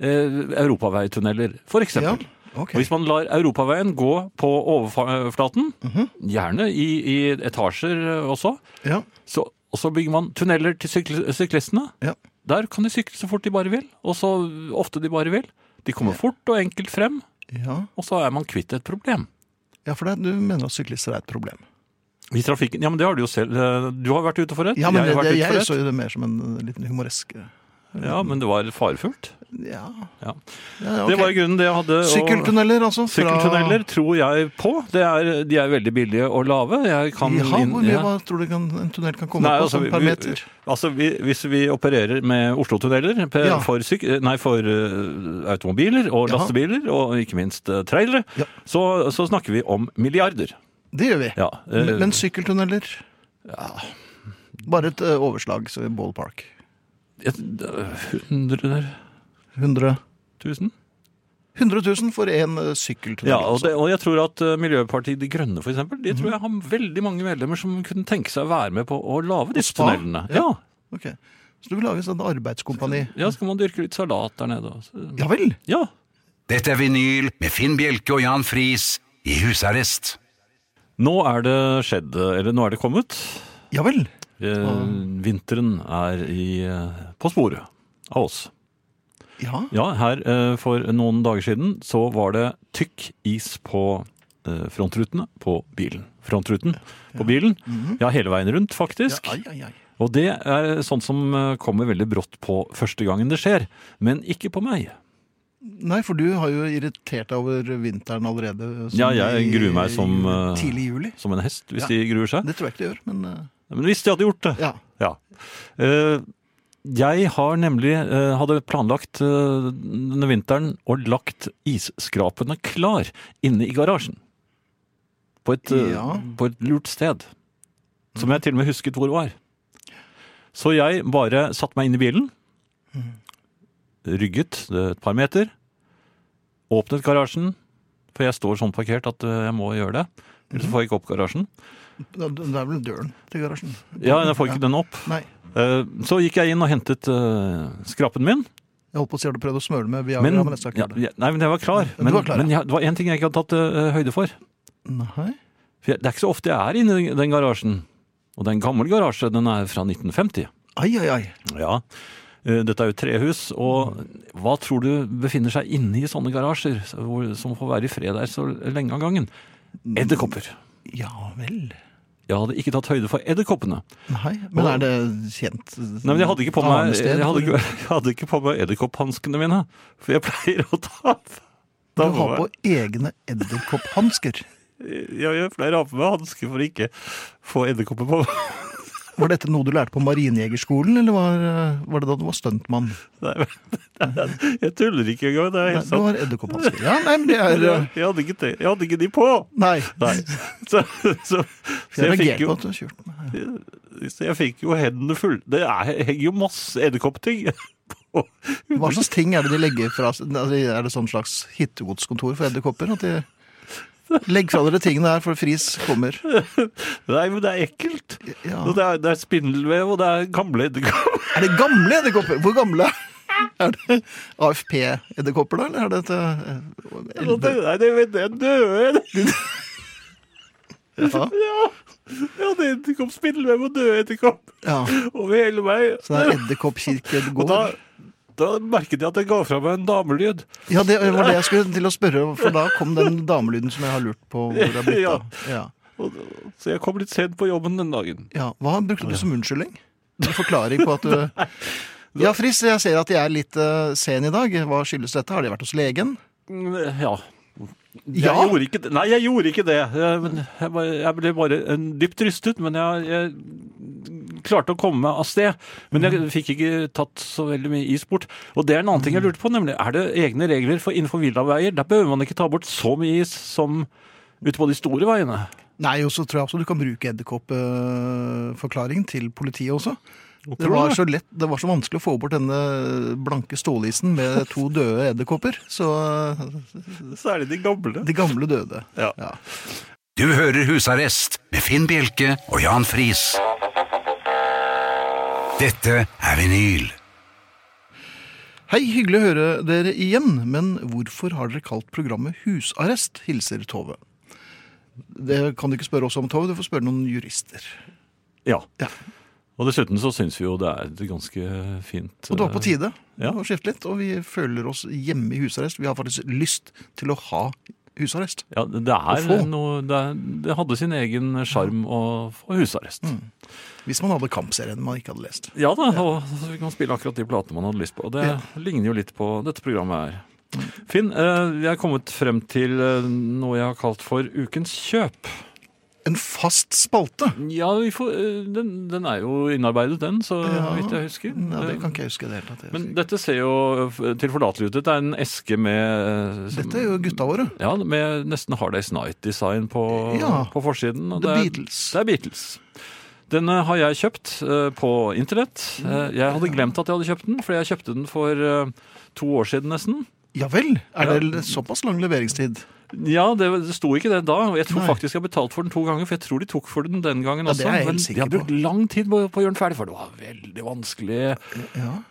Speaker 3: eh, europaveitunneler, for
Speaker 2: Ja,
Speaker 3: eksempel.
Speaker 2: ok.
Speaker 3: Og Hvis man lar europaveien gå på overflaten,
Speaker 2: Mhm.
Speaker 3: gjerne i, i etasjer eh, også,
Speaker 2: Ja,
Speaker 3: så, og så bygger man tunneler til sykl syklistene.
Speaker 2: ja.
Speaker 3: Der kan de sykle så fort de bare vil, og så ofte de bare vil. De kommer fort og enkelt frem,
Speaker 2: Ja.
Speaker 3: og så er man kvitt et problem.
Speaker 2: ja, for det, du mener at syklister er et problem.
Speaker 3: I trafikken, ja, men det har du jo selv. eh, Du har vært ute for et.
Speaker 2: Ja, men
Speaker 3: jeg
Speaker 2: jeg,
Speaker 3: har vært
Speaker 2: det,
Speaker 3: ute for
Speaker 2: jeg
Speaker 3: et.
Speaker 2: så jo det mer som en eh, liten humoresk eh,
Speaker 3: Ja, men det var farefullt.
Speaker 2: Ja.
Speaker 3: Ja.
Speaker 2: ja
Speaker 3: Det var i grunnen det jeg hadde. og-
Speaker 2: Sykkeltunneler, altså? Fra...
Speaker 3: Sykkeltunneler tror jeg på. Det er, de er veldig billige og lave. Jeg kan
Speaker 2: Jaha,
Speaker 3: inn-
Speaker 2: hvor mye
Speaker 3: ja.
Speaker 2: hva tror du kan, en tunnel kan komme
Speaker 3: Nei,
Speaker 2: på?
Speaker 3: altså,
Speaker 2: sånn
Speaker 3: vi,
Speaker 2: per
Speaker 3: vi,
Speaker 2: meter?
Speaker 3: altså vi, hvis vi opererer med Oslo-tunneler per-
Speaker 2: Ja.
Speaker 3: for, syk- nei, for eh, automobiler og
Speaker 2: Jaha.
Speaker 3: lastebiler, og ikke minst eh, trailere,
Speaker 2: Ja.
Speaker 3: så, så snakker vi om milliarder.
Speaker 2: Det gjør vi.
Speaker 3: Ja, eh,
Speaker 2: Men, men sykkeltunneler? Bare et eh, overslag, så ballpark.
Speaker 3: et- eh, Hundre
Speaker 2: 100
Speaker 3: tusen?
Speaker 2: 100 000 for én sykkeltunnel. altså.
Speaker 3: Ja, og, det, og jeg tror at eh, Miljøpartiet De Grønne for eksempel, de
Speaker 2: Mhm.
Speaker 3: tror jeg har veldig mange medlemmer som kunne tenke seg å være med på å lage disse
Speaker 2: spa?
Speaker 3: tunnelene.
Speaker 2: Ja.
Speaker 3: Ja.
Speaker 2: Ok. Så du vil lage et sånt arbeidskompani?
Speaker 3: ja, så kan man dyrke litt salat der nede. også.
Speaker 2: Ja vel!
Speaker 3: Ja,
Speaker 1: Dette er vinyl med Finn Bjelke og Jan Friis i husarrest.
Speaker 3: nå er det skjedd, eller nå er det kommet.
Speaker 2: Ja vel!
Speaker 3: Eh, vinteren er i, eh, på sporet av oss.
Speaker 2: Ja.
Speaker 3: Ja, her eh, for noen dager siden så var det tykk is på eh, frontrutene på bilen. Frontruten på bilen.
Speaker 2: Mhm.
Speaker 3: Ja, hele veien rundt, faktisk.
Speaker 2: Ai, ai, ai.
Speaker 3: Og det er sånt som eh, kommer veldig brått på første gangen det skjer, men ikke på meg.
Speaker 2: Nei, for du har jo irritert deg over vinteren allerede. som
Speaker 3: Ja, jeg
Speaker 2: i-
Speaker 3: gruer meg som, eh,
Speaker 2: Tidlig i juli.
Speaker 3: Som en hest, hvis
Speaker 2: Ja.
Speaker 3: de gruer seg.
Speaker 2: eh, Det tror jeg ikke det gjør, men eh,
Speaker 3: Men hvis de hadde gjort det
Speaker 2: ja.
Speaker 3: Ja. Eh, Jeg har nemlig eh, hadde planlagt eh, denne vinteren og lagt isskrapene klar inne i garasjen. På et, eh,
Speaker 2: Ja.
Speaker 3: på et lurt sted. Som jeg til og med husket hvor var. Så jeg bare satte meg inn i bilen. Rygget eh, et par meter. Åpnet garasjen. For jeg står sånn parkert at eh, jeg må gjøre det. Ellers får jeg ikke opp garasjen.
Speaker 2: Det det er vel døren til garasjen.
Speaker 3: Ja, jeg får ikke den opp.
Speaker 2: Nei.
Speaker 3: Eh, Så gikk jeg inn og hentet eh, skrapen min.
Speaker 2: Jeg holdt på å si har du prøvd å smøre med Viagra,
Speaker 3: Men,
Speaker 2: men, jeg skal ikke
Speaker 3: ja,
Speaker 2: gjøre det.
Speaker 3: ja, nei, men jeg var klar.
Speaker 2: du
Speaker 3: Men,
Speaker 2: var klar, ja.
Speaker 3: men jeg, det var én ting jeg ikke hadde tatt eh, høyde for.
Speaker 2: Nei.
Speaker 3: for jeg, det er ikke så ofte jeg er inne i den garasjen. Og det er en gammel garasje. Den er fra 1950.
Speaker 2: Ai, ai, ai.
Speaker 3: Ja, eh, Dette er jo trehus, og hva tror du befinner seg inne i sånne garasjer, så- hvor- som får være i fred der så lenge av gangen? Edderkopper.
Speaker 2: Ja vel.
Speaker 3: Jeg hadde ikke tatt høyde for edderkoppene.
Speaker 2: Nei, men er det kjent? eh,
Speaker 3: Nei, men jeg hadde ikke på meg,
Speaker 2: Annet sted
Speaker 3: jeg hadde,
Speaker 2: for-
Speaker 3: ikke- (laughs) jeg hadde ikke på meg edderkopphanskene mine, for jeg pleier å ta
Speaker 2: Du
Speaker 3: ta
Speaker 2: har
Speaker 3: meg-
Speaker 2: på egne edderkopphansker.
Speaker 3: Ja, jeg pleier å ha på meg hansker for å ikke få edderkopper på meg. (laughs)
Speaker 2: Var dette noe du lærte på marinjegerskolen, eller var, eh, var det da du var stuntmann?
Speaker 3: Nei, men- nei, nei, Jeg tuller ikke engang. Det er
Speaker 2: Nei,
Speaker 3: helt
Speaker 2: du
Speaker 3: sant.
Speaker 2: har edderkopphansker. Ja, nei, men det er eh,
Speaker 3: Jeg hadde ikke, tenkt- jeg hadde ikke de på!
Speaker 2: Nei.
Speaker 3: Nei. (laughs) Så, så, så,
Speaker 2: Jeg
Speaker 3: jeg fikk
Speaker 2: reagerte
Speaker 3: jo,
Speaker 2: på at du har kjørt med
Speaker 3: så jeg fikk jo hendene fulle. Det er, henger jo masse edderkoppting (laughs) på.
Speaker 2: Hva slags ting er det de legger fra seg? Altså, Er det sånn slags hittegodskontor for edderkopper? At de Legg fra dere tingene her, for fris kommer.
Speaker 3: Nei, men det er ekkelt.
Speaker 2: Ja.
Speaker 3: Og det, er, det er spindelvev, og det er gamle edderkopper.
Speaker 2: Er det gamle edderkopper? Hvor gamle? Er det AFP-edderkopper, da? Eller er det et eh, eldre-
Speaker 3: Nei, det vet jeg. Døde
Speaker 2: ja.
Speaker 3: Ja! Jeg hadde edderkopp, spindelvev og døde edderkopp
Speaker 2: ja.
Speaker 3: over hele meg.
Speaker 2: Så det er edderkoppkirkegård.
Speaker 3: Og da, da merket jeg at jeg ga fra meg en damelyd.
Speaker 2: Ja, det var det jeg skulle til å spørre, for da kom den damelyden som jeg har lurt på hvor det er blitt av. Ja.
Speaker 3: Og, så jeg kom litt sent på jobben den dagen.
Speaker 2: Ja. Hva brukte du som unnskyldning? En forklaring på at (laughs) du Ja, Friis, jeg ser at jeg er litt eh, sen i dag. Hva skyldes dette? Har de vært hos legen?
Speaker 3: Mm, Ja. Jeg
Speaker 2: Ja.
Speaker 3: gjorde ikke det. Nei, jeg gjorde ikke det. Jeg, men jeg, bare- jeg ble bare eh, dypt rystet, men jeg, jeg klarte å komme meg av sted. Men jeg fikk ikke tatt så veldig mye is bort. Og det er en annen ting jeg lurte på, nemlig er det egne regler for innenfor villaveier? Der behøver man ikke ta bort så mye is som ute på de store veiene.
Speaker 2: Nei, og så tror jeg også du kan bruke edderkoppforklaring til politiet også. Det
Speaker 3: du
Speaker 2: var,
Speaker 3: det?
Speaker 2: så lett, det var så vanskelig å få bort denne blanke stålisen med to døde edderkopper. Så eh,
Speaker 3: Særlig de gamle.
Speaker 2: de gamle døde.
Speaker 3: Ja.
Speaker 1: Du hører Husarrest med Finn Bjelke og Jan Friis. Dette er vinyl.
Speaker 2: Hei, hyggelig å høre dere igjen, men hvorfor har dere kalt programmet Husarrest? Hilser Tove. Det kan du ikke spørre oss om, Tove. Du får spørre noen jurister.
Speaker 3: Ja.
Speaker 2: Ja.
Speaker 3: Og dessuten så syns vi jo det er et ganske fint
Speaker 2: Og det var på tide
Speaker 3: Eh, Ja.
Speaker 2: å skifte litt, og vi føler oss hjemme i husarrest. Vi har faktisk lyst til å ha husarrest.
Speaker 3: Ja, det er
Speaker 2: få.
Speaker 3: noe det, er, det hadde sin egen sjarm å få husarrest.
Speaker 2: Mm. Hvis man hadde kampserien man ikke hadde lest.
Speaker 3: Ja da, og så vi kan spille akkurat de platene man hadde lyst på. Og det
Speaker 2: Ja.
Speaker 3: ligner jo litt på dette programmet her. Finn, eh, vi er kommet frem til eh, noe jeg har kalt for Ukens kjøp.
Speaker 2: En fast spalte!
Speaker 3: Ja, vi får, eh, den, den er jo innarbeidet, den, så
Speaker 2: Ja.
Speaker 3: vidt jeg husker.
Speaker 2: Ja, det
Speaker 3: Eh,
Speaker 2: kan ikke jeg huske i det hele tatt. Jeg
Speaker 3: Men
Speaker 2: husker ikke.
Speaker 3: dette ser jo f- tilforlatelig ut. Dette er en eske med eh, som-
Speaker 2: Dette er jo gutta våre.
Speaker 3: Ja, med nesten Hard Days Night-design på,
Speaker 2: Ja.
Speaker 3: på forsiden. og
Speaker 2: The
Speaker 3: det er,
Speaker 2: Beatles.
Speaker 3: Det er Beatles. Denne har jeg kjøpt eh, på internett.
Speaker 2: Mm.
Speaker 3: Eh, jeg hadde glemt at jeg hadde kjøpt den, for jeg kjøpte den for eh, to år siden nesten.
Speaker 2: Ja vel! Er det såpass lang leveringstid?
Speaker 3: Ja, det, det sto ikke det da. og Jeg tror
Speaker 2: Nei.
Speaker 3: faktisk jeg har betalt for den to ganger, for jeg tror de tok for den den gangen
Speaker 2: Ja, det
Speaker 3: også.
Speaker 2: er jeg helt
Speaker 3: men
Speaker 2: sikker
Speaker 3: jeg har brukt lang tid på, på å gjøre den ferdig, for det var veldig vanskelig.
Speaker 2: Ja.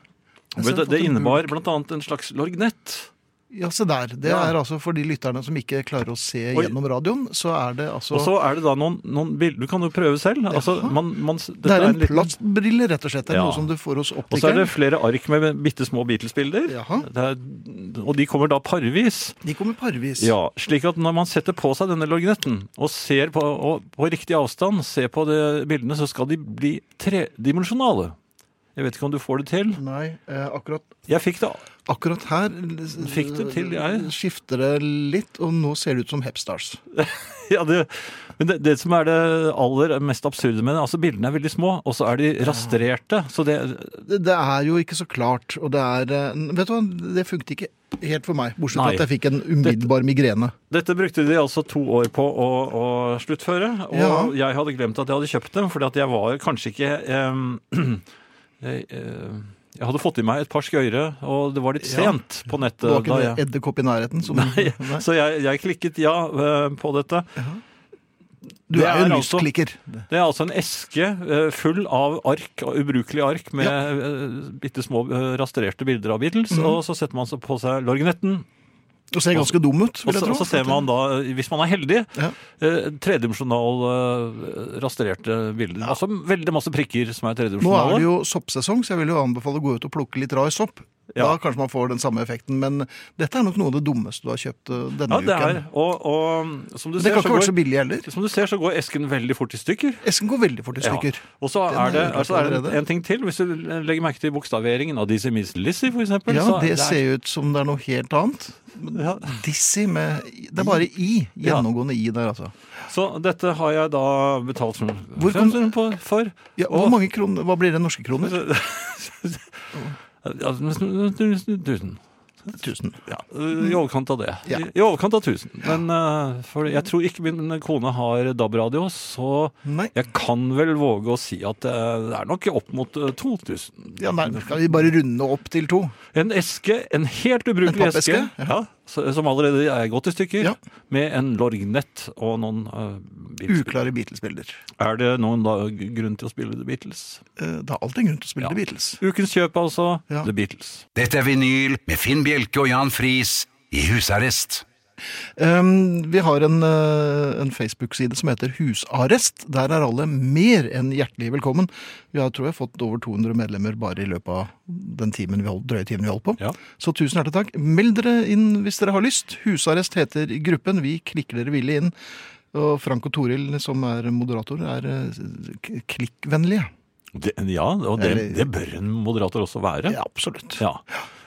Speaker 2: så har jeg
Speaker 3: Men det, det
Speaker 2: fått en
Speaker 3: innebar blant annet en slags lorgnett.
Speaker 2: Ja, se der. Det
Speaker 3: Ja.
Speaker 2: er altså for de lytterne som ikke klarer å se
Speaker 3: Oi.
Speaker 2: gjennom radioen, så er det altså
Speaker 3: Og så er det da noen, noen bilder Du kan jo prøve selv. Altså, man, man,
Speaker 2: Det er en
Speaker 3: liten-
Speaker 2: plastbrille, rett og slett. Det er
Speaker 3: Ja.
Speaker 2: noe som du får hos
Speaker 3: Og så er
Speaker 2: optikeren.
Speaker 3: det flere ark med bitte små Beatles-bilder.
Speaker 2: Jaha.
Speaker 3: Det er- Og de kommer da parvis.
Speaker 2: De kommer parvis.
Speaker 3: Ja, slik at når man setter på seg denne lorgnetten og ser på, og på riktig avstand, ser på de bildene, så skal de bli tredimensjonale. Jeg vet ikke om du får det til.
Speaker 2: Nei, eh, akkurat,
Speaker 3: Jeg fikk det. (laughs)
Speaker 2: akkurat her eh,
Speaker 3: Fikk det til, jeg.
Speaker 2: skifter det litt, og nå ser det ut som Hepstars.
Speaker 3: ja, det, men det, det som er det aller mest absurde med det, altså bildene er veldig små, og så er de rastrerte. Så det
Speaker 2: Det det er jo ikke så klart, og det er eh, Vet du hva, det funket ikke helt for meg, bortsett fra
Speaker 3: Nei.
Speaker 2: at jeg fikk en umiddelbar migrene.
Speaker 3: Dette brukte de altså to år på å, å sluttføre, og
Speaker 2: Ja.
Speaker 3: jeg hadde glemt at jeg hadde kjøpt dem, fordi at jeg var kanskje ikke em, (clears throat) jeg, eh, jeg hadde fått i meg et par skøyere, og det var litt
Speaker 2: Ja.
Speaker 3: sent på nettet.
Speaker 2: Det var ikke
Speaker 3: da
Speaker 2: en
Speaker 3: (laughs) jeg,
Speaker 2: edderkopp i nærheten som Nei.
Speaker 3: så jeg, jeg klikket ja eh, på dette.
Speaker 2: Du
Speaker 3: Det
Speaker 2: er jo
Speaker 3: er
Speaker 2: en
Speaker 3: altså-
Speaker 2: lystklikker.
Speaker 3: Det er altså en eske eh, full av ark, og ubrukelige ark, med ja. bitte små eh, rastrerte bilder av Beatles,
Speaker 2: Mhm.
Speaker 3: og så setter man så på seg lorgnetten,
Speaker 2: Og ser ganske dum ut,
Speaker 3: Og
Speaker 2: vil jeg
Speaker 3: så,
Speaker 2: tro.
Speaker 3: og så ser man da, eh, hvis man er heldig,
Speaker 2: Ja.
Speaker 3: eh, tredimensjonal eh, rastrerte bilder. Altså veldig masse prikker
Speaker 2: Nå
Speaker 3: som er
Speaker 2: er det
Speaker 3: tredimensjonale.
Speaker 2: jo soppsesong, så jeg vil jo anbefale å gå ut og plukke litt rar sopp.
Speaker 3: Ja.
Speaker 2: Da kanskje man får den samme effekten, men dette er nok noe av det dummeste du har kjøpt eh, denne
Speaker 3: Ja, det er.
Speaker 2: uken.
Speaker 3: Og, og som, du
Speaker 2: Det
Speaker 3: ser,
Speaker 2: kan
Speaker 3: så
Speaker 2: ikke være
Speaker 3: går,
Speaker 2: så billig heller.
Speaker 3: som du ser, så går esken veldig fort i stykker.
Speaker 2: Esken går veldig fort i stykker.
Speaker 3: Ja. Og så
Speaker 2: Den
Speaker 3: er det,
Speaker 2: er jo klart
Speaker 3: altså, er det
Speaker 2: allerede.
Speaker 3: en ting til. Hvis du legger merke til bokstaveringen av Dizzie Miss Lizzie, for eksempel.
Speaker 2: Ja,
Speaker 3: så
Speaker 2: det
Speaker 3: er-
Speaker 2: ser jo ut som det er noe helt annet.
Speaker 3: ja.
Speaker 2: Dizzy med Det er bare i.
Speaker 3: Ja.
Speaker 2: Gjennomgående i der, altså.
Speaker 3: Så dette har jeg da betalt som,
Speaker 2: Hvor kom-
Speaker 3: på- for.
Speaker 2: Ja, hvor
Speaker 3: Og-
Speaker 2: mange kroner, Hva blir det norske kroner?
Speaker 3: Ja, Tusen.
Speaker 2: Tusen.
Speaker 3: Ja, I overkant av det.
Speaker 2: Ja.
Speaker 3: I, I overkant av 1000. Men eh, for jeg tror ikke min kone har DAB-radio, så
Speaker 2: Nei.
Speaker 3: jeg kan vel våge å si at eh, det er nok opp mot eh, 2000.
Speaker 2: Ja, nei, skal vi bare runde opp til to?
Speaker 3: En eske, en helt ubrukelig
Speaker 2: En
Speaker 3: eske,
Speaker 2: pappeske,
Speaker 3: ja. så- som allerede er gått i stykker,
Speaker 2: Ja.
Speaker 3: med en lorgnett og noen eh, Beatles.
Speaker 2: Uklare Beatles-bilder.
Speaker 3: Er det noen da, grunn til å spille The Beatles?
Speaker 2: Eh, Det er alltid en grunn til å spille
Speaker 3: Ja.
Speaker 2: The Beatles.
Speaker 3: Ukens kjøp, altså.
Speaker 2: Ja.
Speaker 3: The Beatles.
Speaker 1: Dette er vinyl med Finn Bjelke og Jan Friis i husarrest.
Speaker 2: Um, vi har en, eh, en Facebook-side som heter Husarrest. Der er alle mer enn hjertelig velkommen. Vi har, tror jeg, fått over 200 medlemmer bare i løpet av den timen vi holdt, drøye timen vi holdt på.
Speaker 3: Ja.
Speaker 2: Så tusen hjertelig takk. Meld dere inn hvis dere har lyst. Husarrest heter gruppen. Vi klikker dere villig inn. Og Frank og Toril, som er moderator, er eh, k- klikkvennlige.
Speaker 3: Det, ja, og det,
Speaker 2: Eller-
Speaker 3: det bør en moderator også være.
Speaker 2: Ja, absolutt.
Speaker 3: Ja.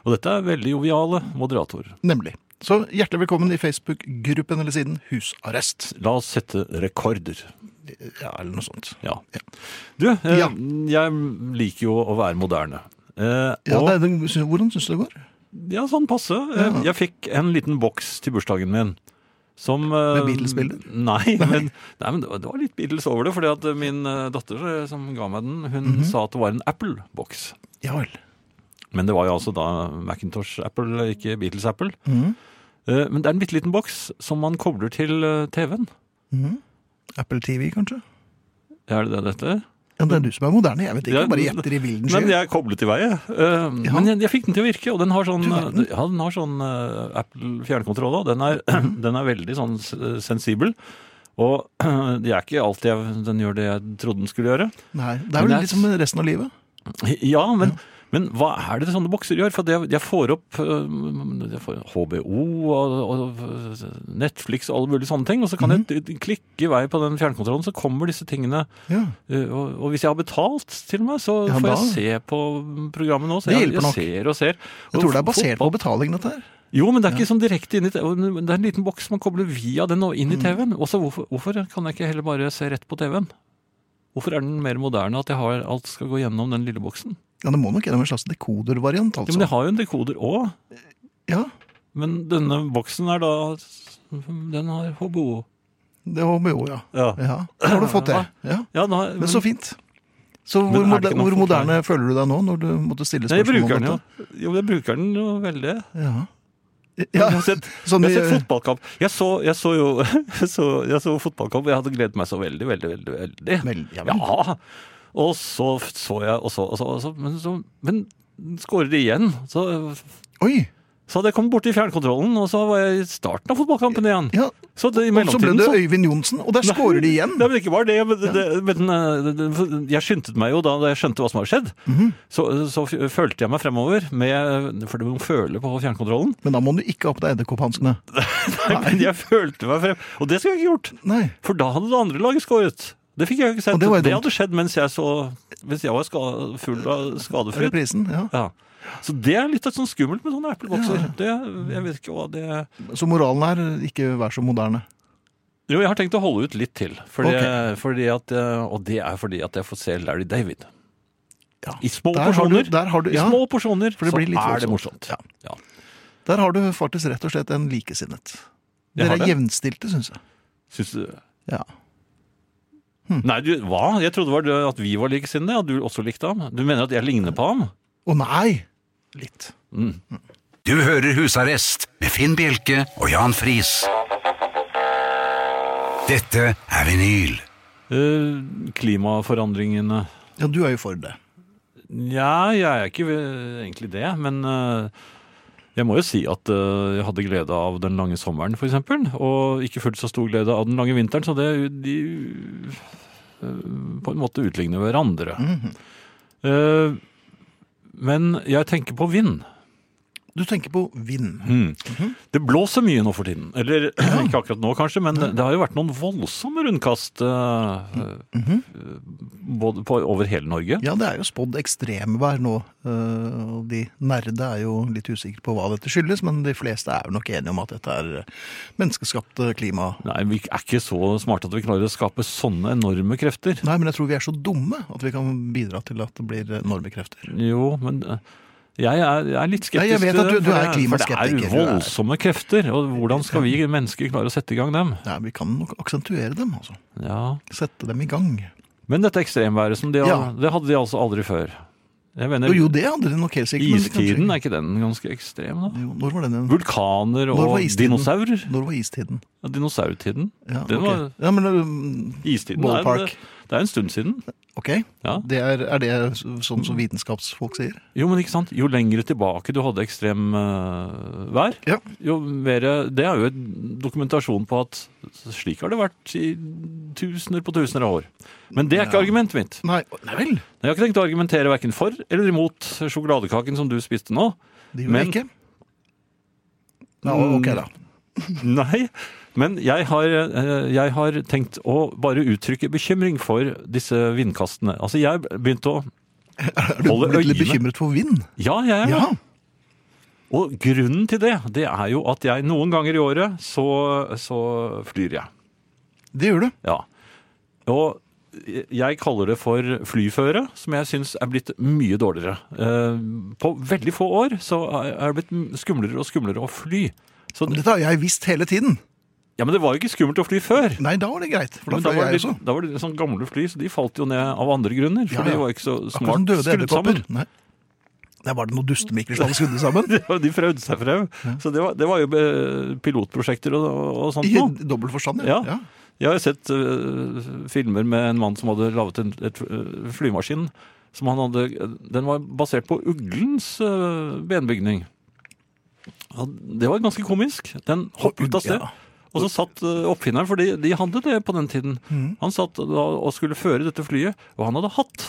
Speaker 3: Og dette er veldig joviale moderatorer.
Speaker 2: Nemlig. Så hjertelig velkommen i Facebook-gruppen eller siden Husarrest.
Speaker 3: La oss sette rekorder.
Speaker 2: Ja, eller noe sånt.
Speaker 3: Ja. Du, eh,
Speaker 2: Ja.
Speaker 3: jeg liker jo å være moderne. Eh,
Speaker 2: Ja,
Speaker 3: og,
Speaker 2: det, er- den- hvordan syns du det går?
Speaker 3: ja, sånn passe. Eh, Jeg fikk en liten boks til bursdagen min. Som, eh,
Speaker 2: Med Beatles-bilder?
Speaker 3: Nei, men, nei, men det var- det var litt Beatles over det. fordi at min eh, datter eh, som ga meg den, hun
Speaker 2: Mhm.
Speaker 3: sa at det var en Apple-boks.
Speaker 2: Ja vel.
Speaker 3: Men det var jo altså da Macintosh-Apple, ikke Beatles-Apple.
Speaker 2: Mm,
Speaker 3: Eh, Men det er en bitte liten boks som man kobler til eh, TV-en.
Speaker 2: mm. Apple TV, kanskje?
Speaker 3: Er det det dette er?
Speaker 2: Ja, Det er du som er moderne. Jeg vet ikke.
Speaker 3: Ja,
Speaker 2: bare
Speaker 3: men-
Speaker 2: gjetter i vilden
Speaker 3: Men
Speaker 2: sky.
Speaker 3: jeg koblet i vei, jeg. Eh, Men jeg, jeg fikk den til å virke, og den har sånn,
Speaker 2: Du verden.
Speaker 3: eh, ja, den har sånn eh, Apple fjernkontroll òg. Den, er- (clears throat) den er veldig sånn s- sensibel. Og (clears throat) det er ikke alltid jeg, den gjør det jeg trodde den skulle gjøre.
Speaker 2: Nei, Det er vel
Speaker 3: Men
Speaker 2: litt
Speaker 3: det er-
Speaker 2: som resten av livet.
Speaker 3: Ja, men, men hva er det sånne bokser gjør? For det, jeg får opp eh, jeg får HBO og, og Netflix og alle mulige sånne ting, og så kan jeg d- klikke i vei på den fjernkontrollen, så kommer disse tingene.
Speaker 2: Ja.
Speaker 3: Eh, Og, og hvis jeg har betalt til meg, så
Speaker 2: Ja,
Speaker 3: får
Speaker 2: da-
Speaker 3: jeg se på programmet nå. Så
Speaker 2: Det
Speaker 3: jeg,
Speaker 2: hjelper nok.
Speaker 3: jeg ser og ser.
Speaker 2: Jeg
Speaker 3: Og
Speaker 2: tror det er basert på
Speaker 3: fotball-
Speaker 2: betaling, dette her.
Speaker 3: Jo, men det er ikke sånn direkte inn i TV-en. men Det er en liten boks man kobler via den og
Speaker 2: Mm.
Speaker 3: inn i TV-en. Og så hvorfor, hvorfor kan jeg ikke heller bare se rett på TV-en? Hvorfor er den mer moderne at jeg har, alt skal gå gjennom den lille boksen?
Speaker 2: Ja, Det må nok gjennom en slags dekodervariant,
Speaker 3: Jo, men
Speaker 2: altså.
Speaker 3: jeg har jo en dekoder òg.
Speaker 2: Ja,
Speaker 3: Men denne boksen er da Den har HBO.
Speaker 2: det var med jo, ja.
Speaker 3: Ja.
Speaker 2: ja. Har du fått det? Ja.
Speaker 3: Ja, da, men,
Speaker 2: Men så fint. Så hvor,
Speaker 3: Men er
Speaker 2: moder-
Speaker 3: det ikke noen
Speaker 2: hvor moderne føler du deg nå, når du måtte stille
Speaker 3: Nei, jeg
Speaker 2: spørsmål
Speaker 3: bruker
Speaker 2: om
Speaker 3: den jo.
Speaker 2: dette?
Speaker 3: Jo, jeg bruker den jo veldig.
Speaker 2: Ja.
Speaker 3: Jeg
Speaker 2: Ja,
Speaker 3: har sett,
Speaker 2: (laughs) sånn
Speaker 3: jeg har
Speaker 2: i-
Speaker 3: sett fotballkamp. Jeg så, jeg så jo (laughs) jeg så, jeg så fotballkamp, og jeg hadde gledet meg så veldig, veldig, veldig. veldig.
Speaker 2: Vel, ja vel.
Speaker 3: ja. Og så f- så jeg og så, og så, og så, men, så men skårer de igjen. Så,
Speaker 2: Oi!
Speaker 3: så hadde jeg kommet borti fjernkontrollen, og så var jeg i starten av fotballkampen igjen.
Speaker 2: Ja.
Speaker 3: Så det, i
Speaker 2: Og så ble
Speaker 3: mellomtiden
Speaker 2: det
Speaker 3: så
Speaker 2: Øyvind Johnsen, og der scorer de igjen!
Speaker 3: Nei, men ikke bare det, men, det, men eh, det- jeg skyndte meg jo da da jeg skjønte hva som hadde skjedd.
Speaker 2: Mhm.
Speaker 3: Så, så f- følte jeg meg fremover, med, for du må føle på fjernkontrollen.
Speaker 2: Men da må du ikke ha på deg edderkopphanskene.
Speaker 3: Men (laughs) jeg følte meg frem, og det skulle jeg ikke gjort.
Speaker 2: Nei.
Speaker 3: For da hadde det andre laget skåret. Det fikk jeg jo ikke sett.
Speaker 2: Og det var jo dumt.
Speaker 3: hadde skjedd mens jeg, så, mens jeg var ska- full av skadefryd.
Speaker 2: Reprisen. Ja.
Speaker 3: Ja. Så det er litt sånn skummelt med sånne eplebokser. Det, jeg vet ikke hva det
Speaker 2: Så moralen er ikke vær så moderne.
Speaker 3: Jo, jeg har tenkt å holde ut litt til. Fordi,
Speaker 2: Ok.
Speaker 3: fordi at, eh, og det er fordi at jeg får se Larry David.
Speaker 2: Ja.
Speaker 3: I små
Speaker 2: Der har
Speaker 3: porsjoner.
Speaker 2: du- der har du- ja.
Speaker 3: I små porsjoner,
Speaker 2: det
Speaker 3: så
Speaker 2: blir litt
Speaker 3: er det
Speaker 2: voldsomt.
Speaker 3: morsomt.
Speaker 2: Ja.
Speaker 3: Ja.
Speaker 2: Der har du faktisk rett og slett en likesinnet.
Speaker 3: Jeg
Speaker 2: Dere
Speaker 3: har
Speaker 2: er
Speaker 3: det.
Speaker 2: jevnstilte, syns jeg.
Speaker 3: Syns du
Speaker 2: Ja.
Speaker 3: Nei, du, hva? Jeg trodde var det at vi var likesinnede, at du også likte ham. Du mener at jeg ligner på ham?
Speaker 2: Å nei! Litt.
Speaker 1: Du hører Husarrest med Finn Bjelke og Jan Friis. Dette er vinyl.
Speaker 3: Eh, klimaforandringene
Speaker 2: Ja, du er jo for det.
Speaker 3: Nja, jeg er ikke eh, egentlig det, men eh, jeg må jo si at eh, jeg hadde glede av den lange sommeren, for eksempel, og ikke fullt så stor glede av den lange vinteren, så det, de eh, på en måte utligner hverandre. Eh, men jeg tenker på vind.
Speaker 2: Du tenker på vind.
Speaker 3: Mhm. Det blåser mye nå for tiden. Eller (clears throat) ikke akkurat nå, kanskje, men det, det har jo vært noen voldsomme rundkast eh, eh, både på, over hele Norge.
Speaker 2: Ja, det er jo spådd ekstremvær nå. eh, Og de nerde er jo litt usikre på hva dette skyldes, men de fleste er jo nok enige om at dette er menneskeskapte klima.
Speaker 3: Nei, vi er ikke så smarte at vi klarer å skape sånne enorme krefter.
Speaker 2: Nei, men jeg tror vi er så dumme at vi kan bidra til at det blir enorme krefter.
Speaker 3: Jo, men eh, jeg er, jeg er litt skeptisk.
Speaker 2: Nei, jeg vet
Speaker 3: til
Speaker 2: at du-
Speaker 3: det,
Speaker 2: du
Speaker 3: for
Speaker 2: er
Speaker 3: det-
Speaker 2: klimaskeptiker,
Speaker 3: For
Speaker 2: du
Speaker 3: det er
Speaker 2: er.
Speaker 3: voldsomme krefter, og hvordan skal vi mennesker klare å sette i gang dem?
Speaker 2: Nei, vi kan nok aksentuere dem, altså.
Speaker 3: Ja.
Speaker 2: Sette dem i gang.
Speaker 3: Men dette ekstremværet, som de, har-
Speaker 2: Ja.
Speaker 3: det hadde de altså aldri før. Jeg mener,
Speaker 2: Jo, jo, det hadde de nok helt sikkert. men kanskje-
Speaker 3: istiden, er ikke den ganske ekstrem da?
Speaker 2: Jo, når var den igjen?
Speaker 3: Vulkaner
Speaker 2: Når var
Speaker 3: og
Speaker 2: istiden?
Speaker 3: dinosaurer.
Speaker 2: Når var istiden?
Speaker 3: Ja, dinosaurtiden.
Speaker 2: Ja,
Speaker 3: Den
Speaker 2: ok.
Speaker 3: var-
Speaker 2: ja men um,
Speaker 3: Istiden er,
Speaker 2: Ballpark.
Speaker 3: det er en stund siden.
Speaker 2: Ok,
Speaker 3: Ja.
Speaker 2: det er, er det sånn som vitenskapsfolk sier?
Speaker 3: Jo, men ikke sant? Jo lengre tilbake du hadde ekstrem eh, vær,
Speaker 2: Ja.
Speaker 3: jo mer Det er jo en dokumentasjon på at slik har det vært i tusener på tusener av år. Men det er ikke argumentet mitt.
Speaker 2: Nei, nei vel,
Speaker 3: Jeg har ikke tenkt å argumentere verken for eller imot sjokoladekaken som du spiste nå.
Speaker 2: det gjør
Speaker 3: Men- Mm.
Speaker 2: jeg ikke. Ja, ok da.
Speaker 3: Nei, men jeg har, eh, jeg har tenkt å bare uttrykke bekymring for disse vindkastene. Altså, jeg begynte å
Speaker 2: Er du
Speaker 3: Holder
Speaker 2: blitt litt
Speaker 3: øye med-
Speaker 2: bekymret for vind?
Speaker 3: Ja, jeg er det.
Speaker 2: Ja,
Speaker 3: Og grunnen til det, det er jo at jeg noen ganger i året så, så flyr jeg.
Speaker 2: det gjør du.
Speaker 3: Ja. Og jeg kaller det for flyføre, som jeg syns er blitt mye dårligere. Eh, På veldig få år så er det blitt skumlere og skumlere å fly. Så,
Speaker 2: Men dette har jeg visst hele tiden.
Speaker 3: ja, men det var jo ikke skummelt å fly før.
Speaker 2: Nei, da var det greit, for da
Speaker 3: Men da
Speaker 2: fløy jeg
Speaker 3: var, det,
Speaker 2: også.
Speaker 3: da var det sånn gamle fly, så de falt jo ned av andre grunner. For
Speaker 2: Ja, ja.
Speaker 3: de var ikke så
Speaker 2: Akkurat som
Speaker 3: smart
Speaker 2: døde
Speaker 3: skrudd
Speaker 2: edderkopper.
Speaker 3: sammen.
Speaker 2: Nei. Der var det noen dustemikler som hadde skrudd sammen.
Speaker 3: (laughs) De prøvde seg frem. Så det var, det var jo eh, pilotprosjekter og, og sånt
Speaker 2: I
Speaker 3: noe.
Speaker 2: dobbelt forstand, ja.
Speaker 3: Ja. Jeg har jo sett øh, filmer med en mann som hadde laget en et, øh, flymaskin. Som han hadde, den var basert på uglens øh, benbygning. Ja, Det var ganske komisk. Den hoppet av sted.
Speaker 2: Ja.
Speaker 3: Og så satt øh, oppfinneren, for de, de hadde det på den tiden.
Speaker 2: Mm.
Speaker 3: Han satt da og skulle føre dette flyet, og han hadde hatt.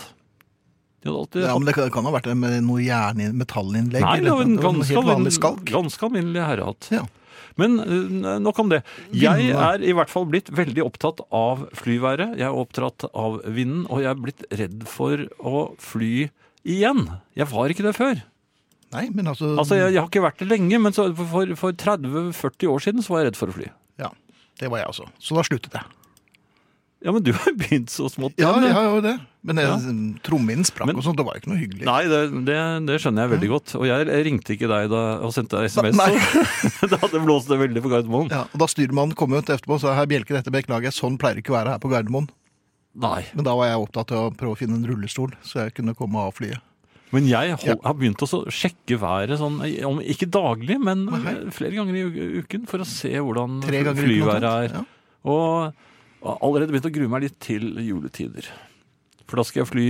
Speaker 3: De hadde alltid
Speaker 2: Ja,
Speaker 3: hatt.
Speaker 2: men det kan, kan ha vært med noe jern, metallinnlegg.
Speaker 3: Nei, det
Speaker 2: eller
Speaker 3: var en
Speaker 2: noe
Speaker 3: ganske,
Speaker 2: helt vanlig
Speaker 3: almin-
Speaker 2: skalk.
Speaker 3: ganske alminnelig herrehatt.
Speaker 2: Ja.
Speaker 3: Men eh, nok om det. Jeg
Speaker 2: Vindene.
Speaker 3: er i hvert fall blitt veldig opptatt av flyværet. Jeg er opptatt av vinden, og jeg er blitt redd for å fly igjen. Jeg var ikke det før.
Speaker 2: Nei, men altså,
Speaker 3: Altså, jeg, jeg har ikke vært det lenge, men så for, for 30-40 år siden så var jeg redd for å fly.
Speaker 2: ja, det var jeg også. Så da sluttet jeg.
Speaker 3: Ja, men du har (laughs) begynt så smått.
Speaker 2: Ja,
Speaker 3: igjen,
Speaker 2: jeg
Speaker 3: ja.
Speaker 2: har jo det. Men jeg-
Speaker 3: Ja.
Speaker 2: trommehinnen sprakk
Speaker 3: Men-
Speaker 2: og sånt, det var jo ikke noe hyggelig.
Speaker 3: Nei, det, det, det skjønner jeg veldig godt. Og jeg ringte ikke deg da, og sendte deg SMS.
Speaker 2: Nei.
Speaker 3: så- (laughs) Da hadde det blåst det veldig på Gardermoen.
Speaker 2: Ja, og da styrmannen kom ut etterpå og sa her bjelker dette beklager jeg, sånn pleier det ikke å være her på Gardermoen.
Speaker 3: Nei.
Speaker 2: Men da var jeg opptatt av å prøve å finne en rullestol, så jeg kunne komme av flyet.
Speaker 3: Men jeg hol-
Speaker 2: Ja.
Speaker 3: har begynt også å sjekke været sånn, om, ikke daglig, men eh,
Speaker 2: Nei.
Speaker 3: flere ganger i u- uken for å se hvordan
Speaker 2: Tre ganger i uken,
Speaker 3: flyværet er.
Speaker 2: omtrent,
Speaker 3: Og har allerede begynt å grue meg litt til juletider. For da skal jeg fly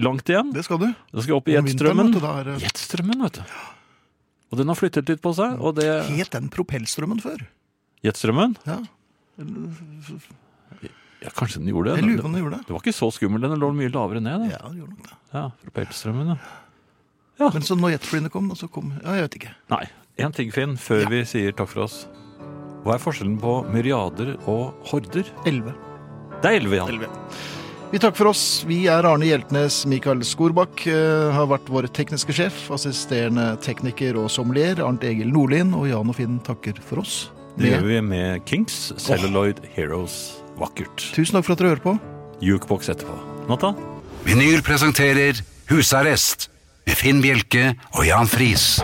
Speaker 3: langt igjen.
Speaker 2: Det skal du.
Speaker 3: Da skal jeg opp i
Speaker 2: Om vinteren,
Speaker 3: jetstrømmen.
Speaker 2: vet du, da er det-
Speaker 3: Jetstrømmen, vet du. Og den har flyttet litt på seg. Og det
Speaker 2: Het den propellstrømmen før?
Speaker 3: Jetstrømmen?
Speaker 2: Ja,
Speaker 3: Ja, kanskje den gjorde
Speaker 2: jeg
Speaker 3: det.
Speaker 2: lurer på
Speaker 3: Det,
Speaker 2: om den gjorde det.
Speaker 3: det var ikke så skummel. Den lå mye lavere ned. Den.
Speaker 2: Ja, den gjorde nok det.
Speaker 3: Ja, propellstrømmen, ja.
Speaker 2: Men så når jetflyene kom, da, så kom Ja, jeg vet ikke.
Speaker 3: Nei. En ting, Finn, før
Speaker 2: Ja.
Speaker 3: vi sier takk for oss. Hva er forskjellen på myriader og horder?
Speaker 2: Elleve.
Speaker 3: Det er elleve, Jan.
Speaker 2: Vi takker for oss. Vi er Arne Hjeltnes, Mikael Skorbakk eh, har vært vår tekniske sjef, assisterende tekniker og sommelier, Arnt Egil Nordlien og Jan og Finn takker for oss.
Speaker 3: Det gjør vi med Kings Celluloid Heroes. Vakkert.
Speaker 2: Tusen takk for at dere hører på.
Speaker 3: Jukebox etterpå. Natta.
Speaker 1: Vinyl presenterer Husarrest med Finn Bjelke og Jan Friis.